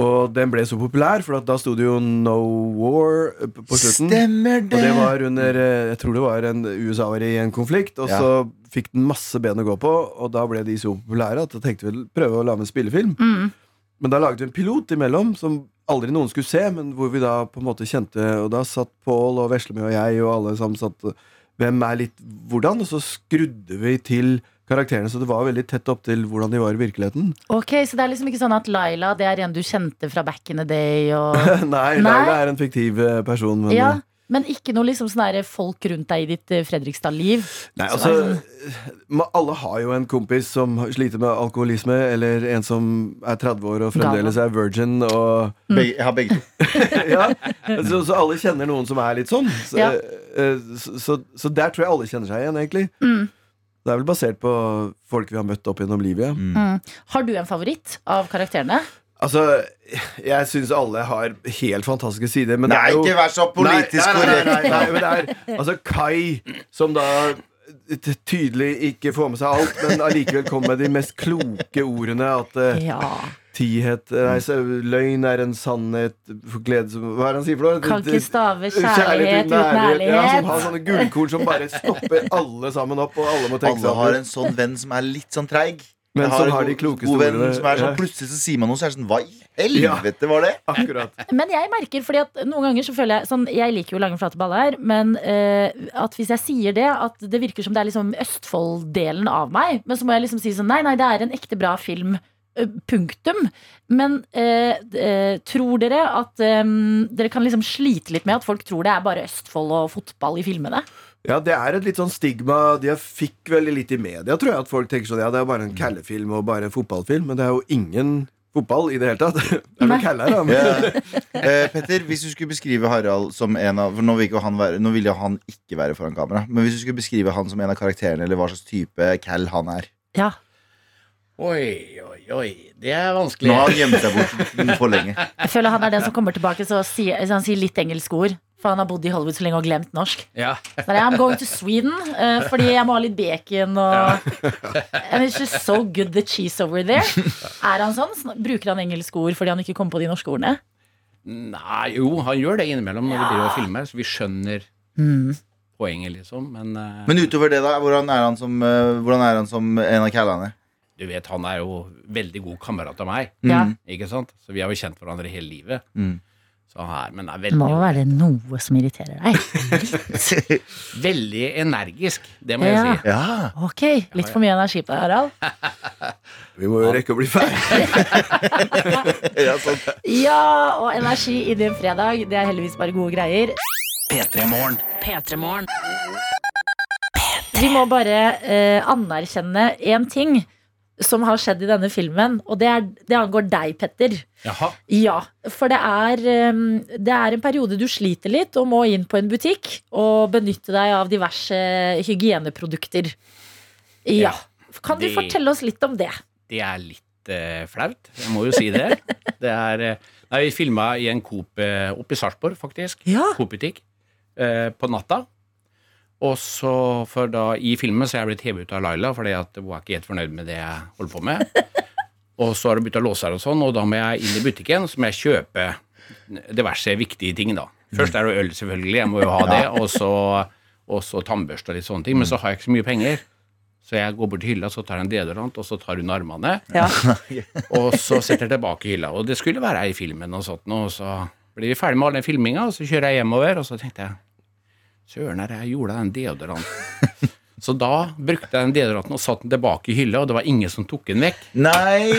S8: Og den ble så populær, for at da sto det jo No War eh, på slutten.
S3: Stemmer
S8: Og det var under eh, Jeg tror det var en USA-er i en konflikt, og
S3: Ja.
S8: så fikk den masse ben å gå på, og da ble de så populære at da tenkte vi prøve å lage en spillefilm. Men da laget vi en pilot imellom som aldri noen skulle se, men hvor vi da på en måte kjente Og da satt Pål og Veslemø og jeg og alle sammen satt Hvem er litt hvordan? Og så skrudde vi til karakterene, så det var veldig tett opp til hvordan de var i virkeligheten.
S2: Ok, Så det er liksom ikke sånn at Laila det er en du kjente fra back in the day? Og...
S8: Nei,
S2: Nei.
S8: Laila er en fiktiv eh, person, men
S2: ja, men ikke noe liksom sånn der folk rundt deg i ditt eh, Fredrikstad-liv?
S8: Nei,
S2: Så
S8: altså
S2: er det
S8: ma- Alle har jo en kompis som sliter med alkoholisme, eller en som er 30 år og fremdeles er virgin. Og,
S3: Begge, jeg har begge to.
S8: ja, så, så alle kjenner noen som er litt sånn. Så,
S2: Ja.
S8: eh, så, så, så der tror jeg alle kjenner seg igjen, egentlig.
S2: Mm.
S8: Det er vel basert på folk vi har møtt opp gjennom livet. Ja.
S3: Mm.
S2: Har du en favoritt av karakterene?
S8: Altså, jeg syns alle har helt fantastiske sider, men
S3: Nei,
S8: det er jo
S3: ikke vær så politisk
S8: Nei, nei, nei,
S3: korrekt.
S8: nei, nei, men det er altså Kai, som da t- tydelig ikke får med seg alt, men allikevel kommer med de mest kloke ordene. At eh,
S2: Ja.
S8: tihet Nei, så, løgn er en sannhet Glede som Hva er det han sier for noe?
S2: Kan ikke stave kjærlighet
S8: Kjærlighet uten ærlighet. Ja, som har
S2: ærlighet.
S8: sånne gullkorn som bare stopper alle sammen opp, og alle må tenke
S3: Alle
S8: seg
S3: har
S8: opp.
S3: en sånn venn som er litt sånn treig.
S8: Men
S3: Jeg
S8: som
S3: en
S8: har de
S3: god-
S8: klokeste
S3: god venn
S8: ordene.
S3: Som er sånn,
S8: Ja.
S3: plutselig så sier man noe, så er det sånn Hva i helvete var det?
S8: Akkurat.
S2: Men jeg merker, fordi at noen ganger så føler jeg sånn, Jeg liker jo lange, flate baller, men eh, at hvis jeg sier det, at det virker som det er liksom Østfold-delen av meg. Men så må jeg liksom si sånn Nei, nei, det er en ekte bra film. eh, Punktum. Men eh, d- eh, tror dere at eh, dere kan liksom slite litt med at folk tror det er bare Østfold og fotball i filmene?
S8: Ja, det er et litt sånn stigma de fikk veldig litt i media, tror jeg, at folk tenker sånn, ja, det er bare en
S9: Mm.
S8: kallefilm og bare en fotballfilm, men det er jo ingen fotball i det hele tatt. Det er
S2: Nei.
S8: noen kaller, da. Men...
S3: Ja. Eh, Petter, hvis du skulle beskrive Harald som en av For nå vil, ikke han være, nå vil jo han ikke være foran kamera. Men hvis du skulle beskrive han som en av karakterene, eller hva slags type cal han er
S2: Ja.
S9: Oi, oi, oi. Det er
S3: Nå
S9: vanskelig.
S3: har han gjemt seg bort for lenge.
S2: Jeg føler han er den som kommer tilbake så sier, så altså han sier litt engelske ord. For han har bodd i Hollywood så lenge og glemt norsk.
S9: Ja.
S2: Så der, I'm going to Sweden eh, fordi jeg må ha litt bacon og And it's just so good the cheese over there. Er han sånn? Sn- Bruker han engelske ord fordi han ikke kom på de norske ordene?
S9: Nei, jo, han gjør det innimellom når vi driver og filmer, så vi skjønner poenget, liksom. Men, eh,
S3: Men utover det, da? Hvordan er han som, eh, hvordan er han som en av callene?
S9: du vet, han er jo veldig god kamerat av meg,
S2: Ja.
S9: Mm. ikke sant? Så vi har jo kjent hverandre hele livet.
S3: Mm.
S9: Så han er, men er
S2: Det må
S9: veldig,
S2: være noe som irriterer deg.
S9: veldig energisk, det må jeg
S2: Ja.
S9: si.
S3: Ja.
S2: Ok, Litt for mye energi på deg, Harald.
S8: Vi må jo rekke å bli ferdig.
S3: ja sånn.
S2: Ja, og energi i din fredag. Det er heldigvis bare gode greier.
S5: P3-morgen.
S2: Vi må bare eh, anerkjenne én ting som har skjedd i denne filmen, og det, er, det angår deg, Petter.
S9: Jaha.
S2: Ja, for det er, ehm, det er en periode du sliter litt og må inn på en butikk og benytte deg av diverse hygieneprodukter. Ja.
S9: Ja,
S2: Kan du
S9: det-
S2: fortelle oss litt om det?
S9: Det er litt eh, flaut, jeg må jo si det. det er, eh, nei, vi filma i en Coop eh, oppe i Sarpsborg, faktisk.
S2: Ja.
S9: Coop-butikk. Eh, på natta. Og så, for da, i filmen så er jeg blitt hevet ut av Laila, fordi at hun er ikke helt fornøyd med det jeg holder på med. og så har hun bytta låser og sånn, og da må jeg inn i butikken, og så må jeg kjøpe diverse viktige ting, da. Først er det øl, selvfølgelig, jeg må jo ha det, og så, og så tannbørste og litt sånne ting, men så har jeg ikke så mye penger. Så jeg går bort til hylla, så tar jeg en deodorant, og så tar hun armene. og så setter jeg tilbake i hylla. Og det skulle være ei i filmen, og sånt, nå, og så blir vi ferdig med all den filminga, og så kjører jeg hjemover, og så tenkte jeg Søren, her, jeg gjorde den deodoranten. så da brukte jeg den deodoranten og satte den tilbake i hylla, og det var ingen som tok den vekk.
S3: Nei!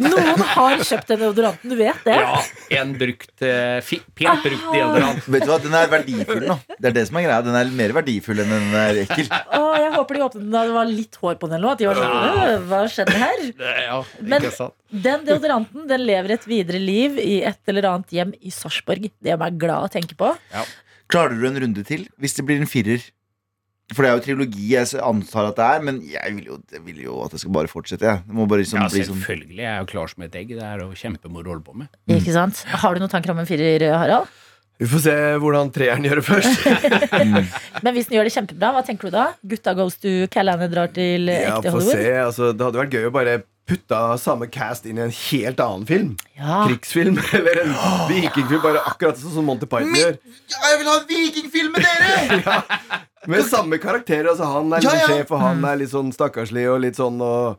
S2: Noen har kjøpt den deodoranten, du vet det?
S9: Ja, en brukt, eh, fi, pent
S2: Ah,
S9: brukt deodorant.
S3: Vet du hva, Den er verdifull nå. Det er det som er greia. Den er mer verdifull enn den er ekkel.
S2: Å, jeg håper de åpnet den da det var litt hår på den. eller noe, At de var sånn, «Øh, hva skjedde her?
S9: Ja,
S2: Men-
S9: ikke sant?
S2: Den deodoranten den lever et videre liv i et eller annet hjem i Sarpsborg. Det gjør meg glad å tenke på.
S3: Klarer du en runde til hvis det blir en firer? For det er jo trilogi jeg antar at det er, men jeg vil jo, jeg vil jo at det skal bare fortsette. Jeg. Det må bare liksom
S9: Ja,
S3: bli sånn
S9: selvfølgelig.
S8: Mm.
S9: Jeg er jo klar som et egg. Det er jo kjempemoro å holde på med.
S2: Ikke sant? Har du noe tanker om en firer, Harald?
S8: Vi får se hvordan treeren gjør det først.
S2: Men hvis den gjør det kjempebra, hva tenker du da? Gutta goes to Callander drar til eh,
S8: Ja,
S2: ekte
S8: få se.
S2: Hollywood?
S8: Altså, det hadde vært gøy å bare putta samme cast inn i en helt annen film.
S2: Ja.
S8: Krigsfilm eller en vikingfilm. Bare akkurat sånn som Monty Python gjør.
S3: jeg vil ha en vikingfilm med dere!
S8: Med samme karakterer. Altså, han er litt
S3: Ja, Mm. ja.
S8: sjef, og han er litt sånn stakkarslig og litt sånn og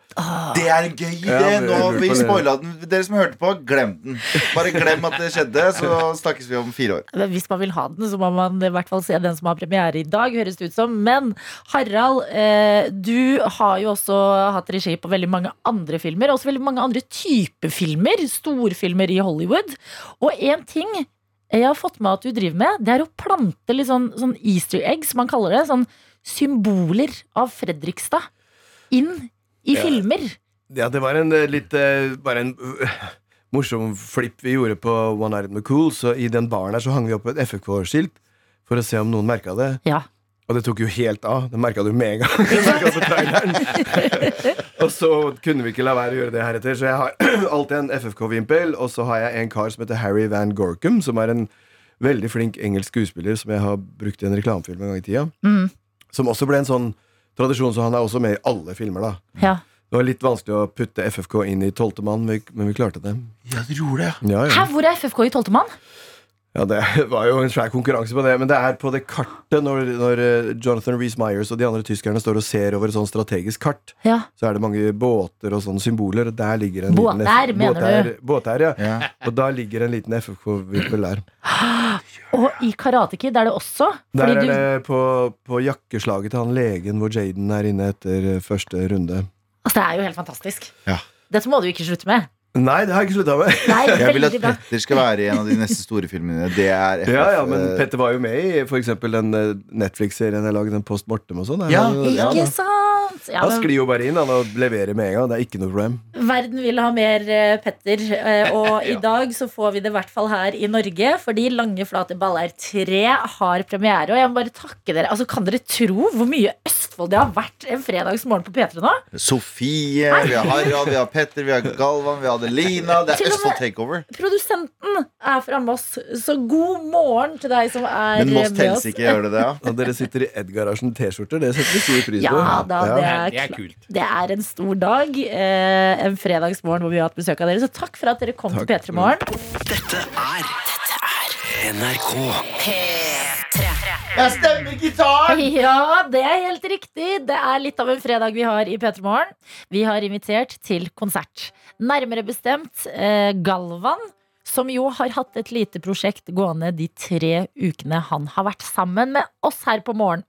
S3: Det er en gøy idé.
S8: Ja, men jeg
S3: Nå har
S8: lurer
S3: vi
S8: på det.
S3: spoila den. Dere som hørte på, glem den. Bare glem at det skjedde, så snakkes vi om fire år.
S2: Men hvis man vil ha den, så må man i hvert fall se den som har premiere i dag, høres det ut som. Men Harald, eh, du har jo også hatt regi på veldig mange andre filmer. Også veldig mange andre typer filmer. Storfilmer i Hollywood. Og én ting jeg har fått med at du driver med, det er å plante litt sånn, sånn easter egg, som man kaller det. Sånn symboler av Fredrikstad inn i
S8: Ja.
S2: filmer.
S8: Ja, det var en eh, litt eh, Bare en eh, morsom flipp vi gjorde på One Night in the Cool. Så i den baren her så hang vi opp et FFK-skilt for å se om noen merka det.
S2: Ja.
S8: Og det tok jo helt av. Det merka du med en gang. Det merket du på traileren. og så kunne vi ikke la være å gjøre det heretter, så jeg har alltid en FFK-vimpel. Og så har jeg en kar som heter Harry Van Gorkum, som er en veldig flink engelsk skuespiller som jeg har brukt i en reklamefilm en gang i tida.
S2: Mm.
S8: Som også ble en sånn tradisjon, så han er også med i alle filmer, da.
S2: ja.
S8: Det var litt vanskelig å putte FFK inn i tolvte mann, vi- men vi klarte det.
S3: Ja, dere gjorde det, ja.
S8: Ja,
S2: Hæ,
S8: ja.
S2: hvor er FFK i Tolvtemann?
S8: ja, Det var jo en svær konkurranse på det, men det er på det kartet når, når eh, Jonathan Reece-Myers og de andre tyskerne står og ser over et sånn strategisk kart,
S2: Ja.
S8: så er det mange båter og sånne symboler, og der ligger en
S2: Båter,
S8: liten
S2: mener
S8: båter, båter, ja.
S3: Ja.
S8: Og da ligger en liten FFK-vippel der.
S2: Og i Karate Kid er det også.
S8: Der
S2: fordi
S8: er
S2: du-
S8: det på, på jakkeslaget til han legen hvor Jaden er inne etter eh, første runde.
S2: Altså, det er jo helt fantastisk.
S3: Ja.
S2: Dette må du ikke slutte med.
S8: Nei, det har jeg ikke slutta med.
S2: Nei,
S3: Jeg vil at
S2: veldig bra.
S3: Petter skal være i en av de neste store filmene. Det er FF.
S8: Ja, ja, men
S3: eh,
S8: Petter var jo med i for eksempel den eh, Netflix-serien jeg lagde, den Post Mortem og sånn. Han-
S3: Ja,
S8: ja,
S2: Ikke
S8: da.
S2: sant? Ja,
S8: Han
S2: men
S8: sklir jo bare inn han, og leverer med en gang. Det er ikke noe problem.
S2: verden vil ha mer eh, Petter, eh, og i dag så får vi det i hvert fall her i Norge, fordi Lange flate baller 3 har premiere. Og jeg må bare takke dere. Altså, Kan dere tro hvor mye Østfold det har vært en fredagsmorgen på P3 nå?
S3: Sofie, vi har Harald, vi har Petter, vi har Galvan, vi har Adelina. Det
S2: Til
S3: er
S2: og
S3: Østfold
S2: med-
S3: Takeover.
S2: Produsenten er fra Moss, så god morgen til deg som er
S3: Men Moss
S2: eh, med
S3: telles
S2: oss.
S3: ikke, gjør det det? ja?
S8: Og dere sitter i Ed-garasjen T-skjorter. Det setter vi stor pris på.
S2: Ja da, det
S9: Ja,
S2: er,
S9: det er
S2: klart.
S9: kult.
S2: Det er en stor dag. Eh, en fredagsmorgen hvor vi har hatt besøk av dere. Så takk for at dere kom
S8: Takk.
S2: til P3 Morgen.
S5: Dette er NRK.
S2: Ja, det er helt riktig. Det er litt av en fredag vi har i P3 Morgen. Vi har invitert til konsert. Nærmere bestemt eh, Galvan. Som jo har hatt et lite prosjekt gående de tre ukene han har vært sammen med oss her på morgen.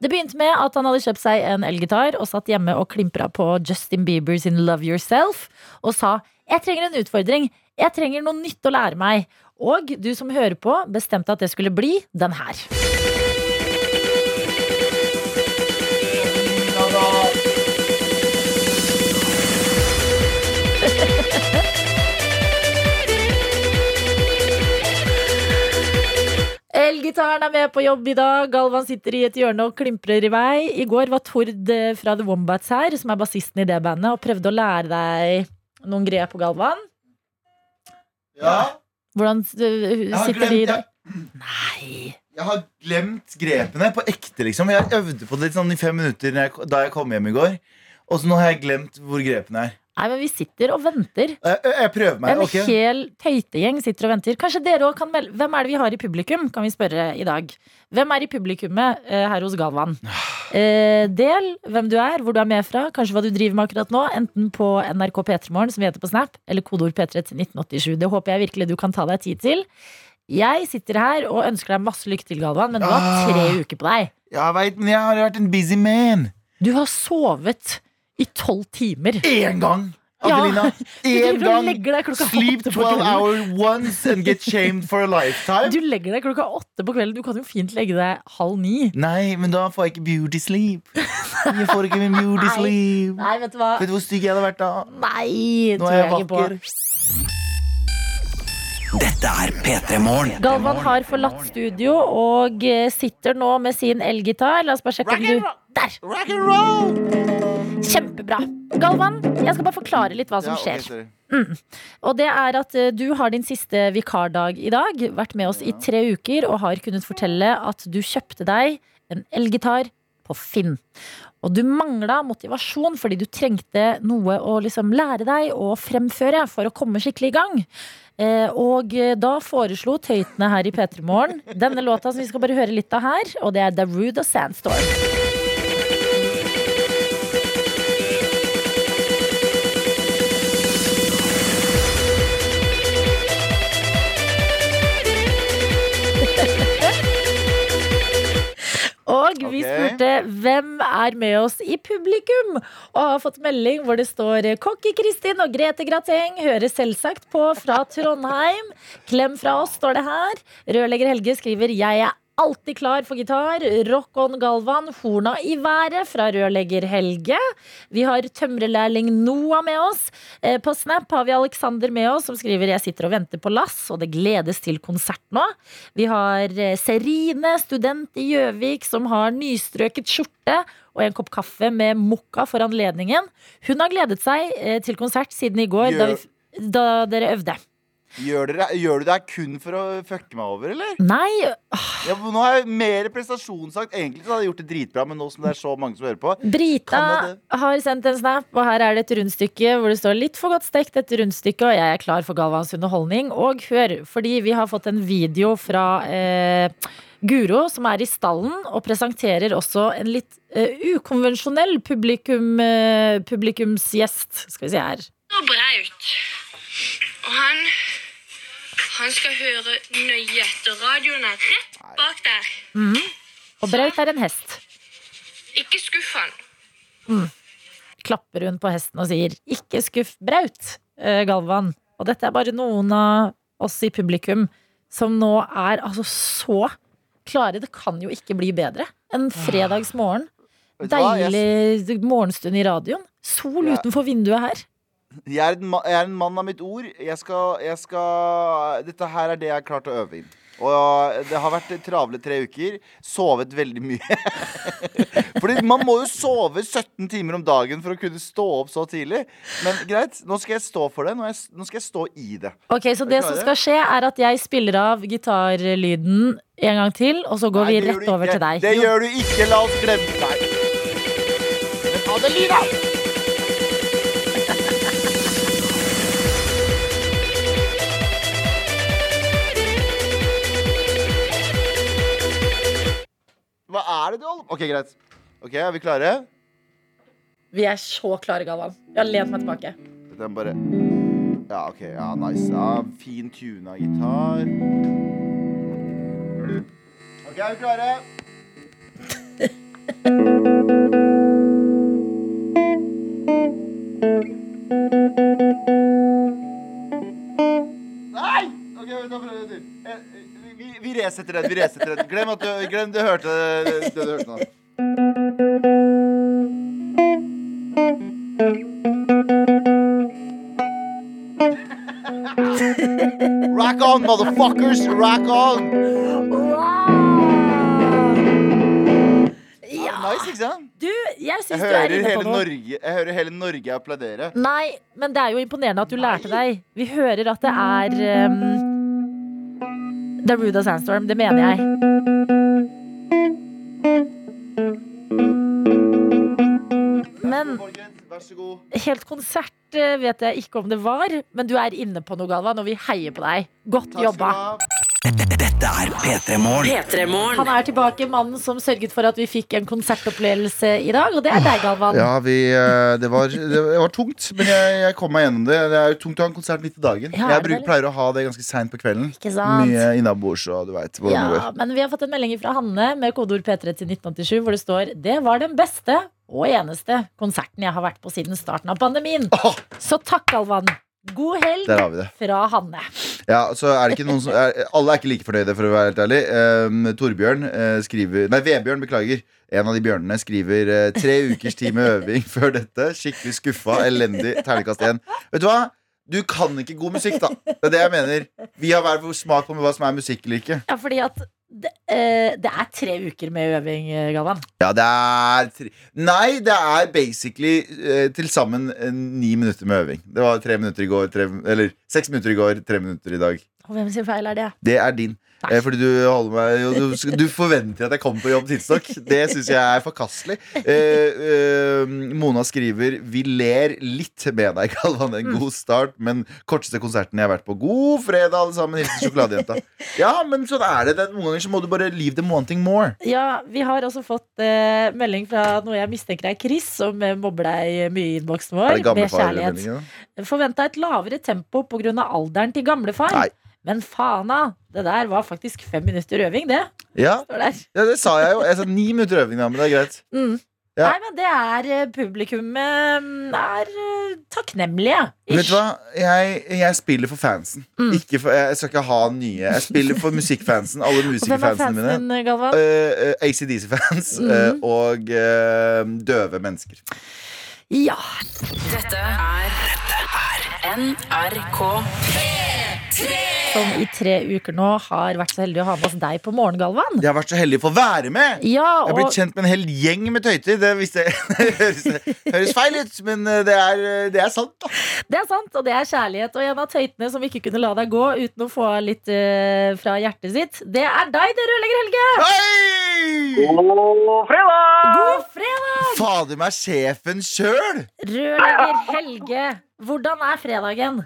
S2: Det begynte med at han hadde kjøpt seg en elgitar og satt hjemme og klimpra på Justin Bieber sin Love Yourself og sa 'Jeg trenger en utfordring. Jeg trenger noe nytt å lære meg'. Og du som hører på, bestemte at det skulle bli den her. Elgitaren er med på jobb i dag. Galvan sitter i et hjørne og klimprer i vei. I går var Tord eh, fra The Wombats her, som er bassisten i det bandet, og prøvde å lære deg noen grep på Galvan.
S3: Ja,
S2: Hvordan eh,
S3: jeg har
S2: sitter de i
S3: glemt
S2: dag?
S3: jeg,
S2: Nei.
S3: jeg har glemt grepene på ekte, liksom. Jeg øvde på det litt sånn i fem minutter når jeg, da jeg kom hjem i går. Og så nå har jeg glemt hvor grepene er.
S2: Nei, men vi sitter og venter.
S3: Jeg, jeg- jeg prøver meg.
S2: En
S3: ok?
S2: hel tøytegjeng sitter og venter. Kanskje dere også kan melde Hvem er det vi har i publikum, kan vi spørre i dag. Hvem er i publikummet eh, her hos Galvan? Eh, del hvem du er, hvor du er med fra, kanskje hva du driver med akkurat nå. Enten på NRK P3morgen, som vi heter på Snap, eller kodeord P3 til 1987. Det håper jeg virkelig du kan ta deg tid til. Jeg sitter her og ønsker deg masse lykke til, Galvan, men du har tre
S3: Ah.
S2: uker på deg.
S3: Jeg veit, men jeg har vært en busy man.
S2: Du har sovet i tolv timer.
S3: Én gang!
S2: Ja.
S3: Adelina.
S2: Du
S3: Én
S2: driver og
S3: gang.
S2: legger deg klokka
S3: Sleep
S2: åtte på
S3: 12
S2: kvelden.
S3: hours once and get shamed for a lifetime.
S2: Du legger deg klokka åtte på kvelden. Du kan jo fint legge deg halv ni.
S3: Nei, men da får jeg ikke beauty sleep. Jeg får ikke min beauty
S2: Nei.
S3: sleep.
S2: Nei, vet du hva?
S3: Vet du hvor stygg jeg hadde vært da?
S2: Nei,
S3: Nå
S2: tror
S3: er jeg
S2: jeg ikke på.
S3: vakker.
S5: Dette er P3 Morgen.
S2: Galvan har forlatt studio og eh, sitter nå med sin elgitar. La oss bare sjekke om du Der! Kjempebra. Galvan, jeg skal bare forklare litt hva som skjer. Mm. Og det er at eh, du har din siste vikardag i dag. Vært med oss i tre uker og har kunnet fortelle at du kjøpte deg en elgitar på Finn. Og du mangla motivasjon fordi du trengte noe å liksom lære deg og fremføre for å komme skikkelig i gang. Eh, og eh, da foreslo tøytene her i P3 Morgen denne låta som vi skal bare høre litt av her, og det er Darude og Sandstorm. Og vi
S3: Ok.
S2: spurte hvem er med oss i publikum, og har fått melding hvor det står Kokke Kristin og Grete Grateng hører selvsagt på fra Trondheim. Klem fra oss, står det her. Rørlegger Helge skriver Jeg er alltid klar for gitar. Rock on Galvan, horna i været fra rørlegger Helge. Vi har tømrelærling Noah med oss. Eh, På Snap har vi Alexander med oss, som skriver Jeg sitter og venter på lass, og det gledes til konsert nå. Vi har eh, Serine, student i Gjøvik, som har nystrøket skjorte og en kopp kaffe med mokka for anledningen. Hun har gledet seg eh, til konsert siden i går, da, vi, f- da dere øvde.
S3: Gjør, dere, gjør du det her kun for å fucke meg over, eller?
S2: Nei,
S3: Ja, for nå har jeg mer prestasjonsangst. Egentlig så hadde jeg gjort det dritbra, men nå som det er så mange som hører på Kan
S2: Brita
S3: jeg
S2: har sendt en snap, og her er det et rundstykke hvor det står 'litt for godt stekt et rundstykke', og jeg er klar for Galvans underholdning. Og hør, fordi vi har fått en video fra eh, Guro, som er i stallen, og presenterer også en litt eh, ukonvensjonell publikum, eh, publikumsgjest, skal vi si her.
S7: så braut. Og han han skal høre nøye etter. Radioen er rett bak der.
S2: Og Braut er en hest.
S7: Ikke skuff han.
S2: Klapper hun på hesten og sier 'ikke skuff Braut', eh, Galvan. Og dette er bare noen av oss i publikum som nå er altså så klare. Det kan jo ikke bli bedre enn fredagsmorgen.
S3: Vet du hva? Jeg-
S2: Deilig morgenstund i radioen. Sol
S3: Ja.
S2: utenfor vinduet her.
S3: Jeg er, en ma jeg er en mann av mitt ord. Jeg skal, jeg skal Dette her er det jeg har klart å øve inn. Og det har vært travle tre uker. Sovet veldig mye. Fordi man må jo sove 17 timer om dagen for å kunne stå opp så tidlig. Men greit, nå skal jeg stå for det. Nå, er jeg, s- nå skal jeg stå i det.
S2: Ok, Så det som skal
S3: klarer.
S2: skje, er at jeg spiller av gitarlyden en gang til, og så går
S3: Nei,
S2: vi
S3: det gjør
S2: rett
S3: du
S2: over
S3: ikke.
S2: til deg.
S3: Det
S2: Jo.
S3: gjør du ikke. La oss glemme deg. Ta det lyd, da! Hva er det du holder OK, greit. Ok, Er vi klare?
S2: Vi er så klare, Galvan. Jeg har lent meg tilbake.
S3: Den bare Ja, OK. Ja, nice. Ja, fin tuna gitar. OK, er vi klare? Nei! OK, vi tar prøve til. Eh, eh, Vi, vi resetter den. vi resetter den Glem at du, glem du hørte det du hørte nå. Rack on, motherfuckers! Rack on! Ja.
S2: Ja.
S3: Nice, ikke sant?
S2: Du, jeg syns
S3: Jeg
S2: du er
S3: hører,
S2: inne
S3: hele
S2: på noe.
S3: Norge, jeg hører hele Norge applaudere.
S2: Nei, men det er jo imponerende at du lærte deg. Vi hører at det er um, Daruda Sandstorm. Det mener jeg. Men
S3: Folkens, vær så god.
S2: helt konsert eh, vet jeg ikke om det var. Men du er inne på noe, Galvan, og vi heier på deg. Godt
S3: Takk skal
S2: jobba.
S3: du ha.
S5: Dette er P3 Morgen.
S2: Han er tilbake, mannen som sørget for at vi fikk en konsertopplevelse i dag. Og det er deg, Galvan.
S3: Ja, vi, eh, det, var, det var tungt, men jeg, jeg kom meg gjennom det. Det er jo tungt å ha en konsert midt i dagen.
S2: Ja,
S3: jeg
S2: er det
S3: bruker, pleier å ha det ganske seint på kvelden.
S2: Ikke sant?
S3: Mye innabords og du veit hvordan det
S2: Ja,
S3: går.
S2: men vi har fått en melding fra Hanne med kodeord P3 til 1987 hvor det står Det var den beste og eneste konserten jeg har vært på siden starten av pandemien.
S3: Åh!
S2: Så takk, Alvan. God helg
S3: Der har vi det.
S2: fra Hanne.
S3: Ja, så er det ikke noen som, er, Alle er ikke like fornøyde, for å være helt ærlig. Um, Torbjørn eh, skriver Nei, Vebjørn, beklager. En av de bjørnene skriver eh, tre ukers tid med øving før dette. Skikkelig skuffa, elendig, terningkast én. Vet du hva? Du kan ikke god musikk, da. Det er det jeg mener. Vi har hver vår smak på hva som er musikk eller ikke.
S2: Ja, fordi at det, eh, det er tre uker med øving, eh, Galvan.
S3: Ja, det er tre... Nei, det er basically eh, til sammen eh, ni minutter med øving. Det var tre minutter i går, tre... eller seks minutter i går, tre minutter i dag.
S2: Og hvem sin feil er det?
S3: Det er din.
S2: Nei.
S3: Eh, fordi du, holder meg, jo, du, sk- du forventer at jeg kommer på jobb tidsnok. Det syns jeg er forkastelig. Eh, eh, Mona skriver Vi ler litt med deg, Galvan. En god start, men korteste konserten jeg har vært på. God fredag, alle sammen. Hilsen sjokoladejenta. Ja, men sånn er det. Det- Noen ganger så må du bare leave them wanting more.
S2: Ja, vi har også fått eh, melding fra noe jeg mistenker er Chris, som eh, mobber deg mye i innboksen
S3: Er
S2: vår.
S3: det gamle
S2: med kjærlighet.
S3: farmeldingene?
S2: Forventa et lavere tempo pga. alderen til gamlefar.
S3: Nei.
S2: Men fana, det der var faktisk fem minutter øving, det.
S3: Ja,
S2: Står der.
S3: ja, det sa jeg jo. Jeg sa ni minutter øving, da, men det er greit.
S2: Mm.
S3: Ja.
S2: Nei, men det er eh, Publikummet mm, er eh, takknemlige.
S3: Vet du hva? Jeg, jeg spiller for fansen.
S2: Mm.
S3: Ikke for, jeg skal ikke ha nye. Jeg spiller for musikkfansen. Alle
S2: Og hvem er fansen
S3: musikerfansene mine.
S2: din, Galvan?
S3: Uh, ACDC-fans eh,
S2: Mhm.
S3: og eh, døve mennesker.
S2: Ja. Som i tre uker nå har vært så heldig å ha med oss deg på morgen, Galvan.
S3: Jeg har vært så heldig for å få være med!
S2: Ja,
S3: Jeg har
S2: og
S3: blitt kjent med en hel gjeng med tøyter. Det, visste jeg, det høres, høres feil ut, men eh, det er, det er sant. da
S2: det er sant, og det er kjærlighet. Og en av tøytene som ikke kunne la deg gå uten å få litt eh, fra hjertet sitt, det er deg, det rørlegger Helge!
S3: Hei!
S2: God fredag!
S3: Fader meg sjefen sjøl!
S2: Rørlegger Helge, hvordan er fredagen?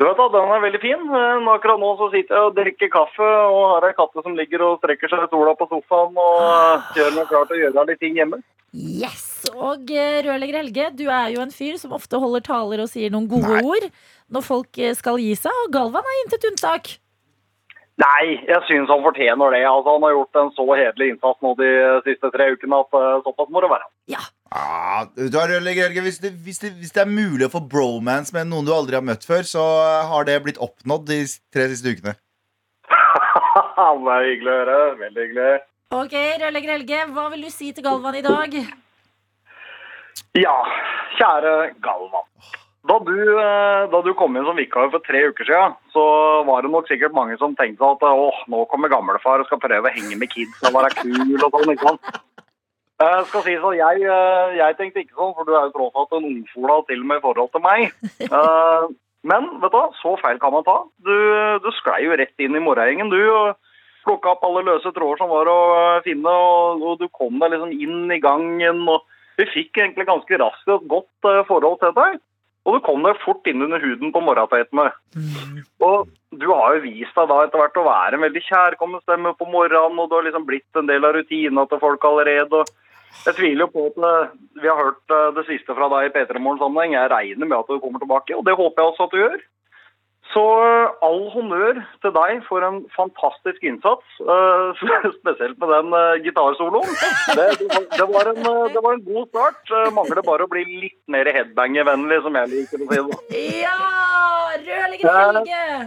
S10: Du vet da, Den er veldig fin. Eh, Men akkurat nå så sitter jeg og drikker kaffe og har ei katte som ligger og strekker seg i sola på sofaen og eh, gjør meg klar til å gjøre litt ting hjemme.
S2: Yes! Og eh, rørlegger Helge, du er jo en fyr som ofte holder taler og sier noen gode ord når folk eh, skal gi seg, og Galvan er intet unntak.
S10: Nei, jeg syns han fortjener det. Altså, Han har gjort en så hederlig innsats nå de siste tre ukene at eh, såpass må det være.
S3: Ah, du har rørlegger, Jørgen. Hvis, det- hvis, det- hvis det er mulig å få bromance med noen du aldri har møtt før, så har det blitt oppnådd de s- tre siste ukene.
S10: det er hyggelig å høre. Veldig hyggelig.
S2: Ok, rørlegger Helge, hva vil du si til Galvan i dag?
S10: Ja, kjære Galvan. Da du, eh, da du kom inn som vikar for tre uker siden, så var det nok sikkert mange som tenkte at åh, nå kommer gamlefar og skal prøve å henge med kids og være kul og sånn. ikke sant? Eh, skal si så, jeg, eh, jeg tenkte ikke sånn, for du er jo tross alt en ungfola til og med i forhold til meg. Eh, men vet du hva, så feil kan man ta. Du, du sklei jo rett inn i morgengjengen, du. og Plukka opp alle løse tråder som var å eh, finne, og, og du kom deg liksom inn i gangen. og vi fikk egentlig ganske raskt et godt eh, forhold til deg. Og du kom deg fort inn under huden på morgentøytene. Og du har jo vist deg da etter hvert å være en veldig kjærkommen stemme på morgenen, og du har liksom blitt en del av rutina til folk allerede. Og jeg tviler jo på at eh, vi har hørt eh, det siste fra deg i P3 Morgen-sammenheng. Jeg regner med at du kommer tilbake, og det håper jeg også at du gjør. Så eh, all honnør til deg for en fantastisk innsats, eh, spesielt med den eh, gitarsoloen. Det, det, var en, eh, det var en god start. Eh, Mangler bare å bli litt mer headbanger-vennlig, som jeg liker å si. det.
S2: Ja! Rørlegger Helge!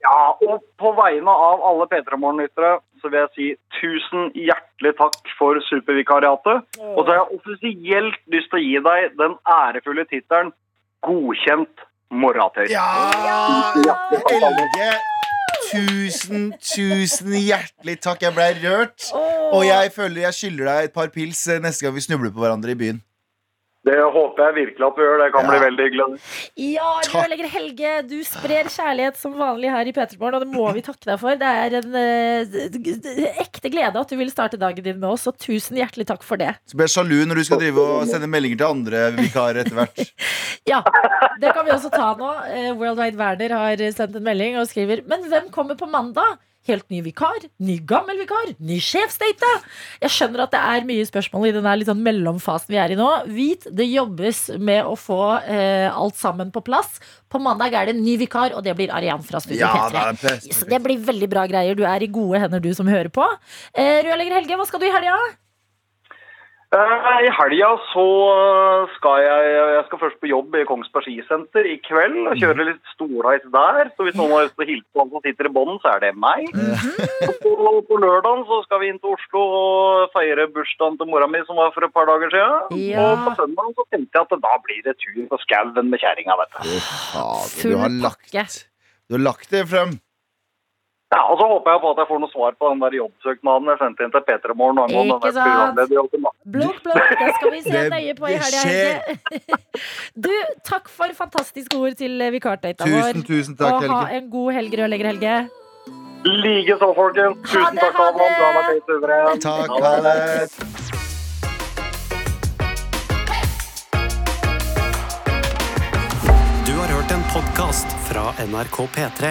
S10: Ja, og på vegne av alle P3 Morgen-lyttere så vil jeg si tusen hjertelig takk for supervikariatet. Og så har jeg offisielt lyst til å gi deg den ærefulle tittelen Godkjent morratøy.
S3: Ja!
S10: Hjertelig takk, alle.
S3: Helge, tusen, tusen hjertelig takk. Jeg ble rørt.
S2: Åh.
S3: Og jeg føler jeg skylder deg et par pils eh, neste gang vi snubler på hverandre i byen.
S10: Det håper jeg virkelig at du gjør. Det kan bli veldig hyggelig.
S2: Ja, rørlegger Helge, du sprer kjærlighet som vanlig her i Petermorgen, og det må vi takke deg for. Det er en eh, d- d- ekte glede at du vil starte dagen din med oss, og tusen hjertelig takk for det.
S3: Så blir jeg sjalu når du skal drive og sende meldinger til andre vikarer etter hvert.
S2: Ja, det kan vi også ta nå. Eh, World Wide Werner har sendt en melding og skriver Men hvem kommer på mandag? Helt ny vikar? Ny gammel vikar? Ny sjefsdate? Jeg skjønner at det er mye spørsmål i den her litt sånn mellomfasen vi er i nå. Vit, det jobbes med å få eh, alt sammen på plass. På mandag er det en ny vikar, og det blir Arian fra Studio
S3: Ja, det
S2: P3.
S3: er best.
S2: Så det blir veldig bra greier. Du er i gode hender, du som hører på. Eh, Rødlegger Helge, hva skal du i helga?
S10: Eh, I helga så eh, skal jeg, jeg skal først på jobb i Kongsberg Skisenter i kveld
S2: Mhm.
S10: og kjøre litt storreis der. Så hvis noen har lyst til å hilse på han som sitter i bånn, så er det meg.
S2: Mhm.
S10: Og på, på lørdagen så skal vi inn til Oslo og feire bursdagen til mora mi som var for et par dager siden.
S2: Ja.
S10: Og på søndag så tenkte jeg at da blir det tur på skauen med kjerringa, vet du.
S3: Fader, du har
S2: Full
S3: lagt
S2: pakke.
S3: Du har lagt det frem.
S10: Ja, og så håper jeg på at jeg får noe svar på den der jobbsøknaden jeg sendte inn til Peter i morgen angående
S2: Ikke
S10: den der programlederjobben, da.
S2: Blokk, blokk, det skal vi se
S3: Det-
S2: nøye på i
S3: det
S2: helga. Helge. Du, takk for fantastiske ord til vikardata vår.
S3: Tusen, tusen takk,
S2: Og ha
S3: Helge.
S2: en god helg, rørlegger Helge.
S10: Likeså, folkens.
S2: Ha
S10: Tusen
S2: det,
S10: takk,
S2: ha
S10: Adam. Du har vært helt suveren.
S3: Takk,
S10: Ha
S3: ha
S10: det.
S3: det.
S1: Du har hørt en podkast fra NRK P3.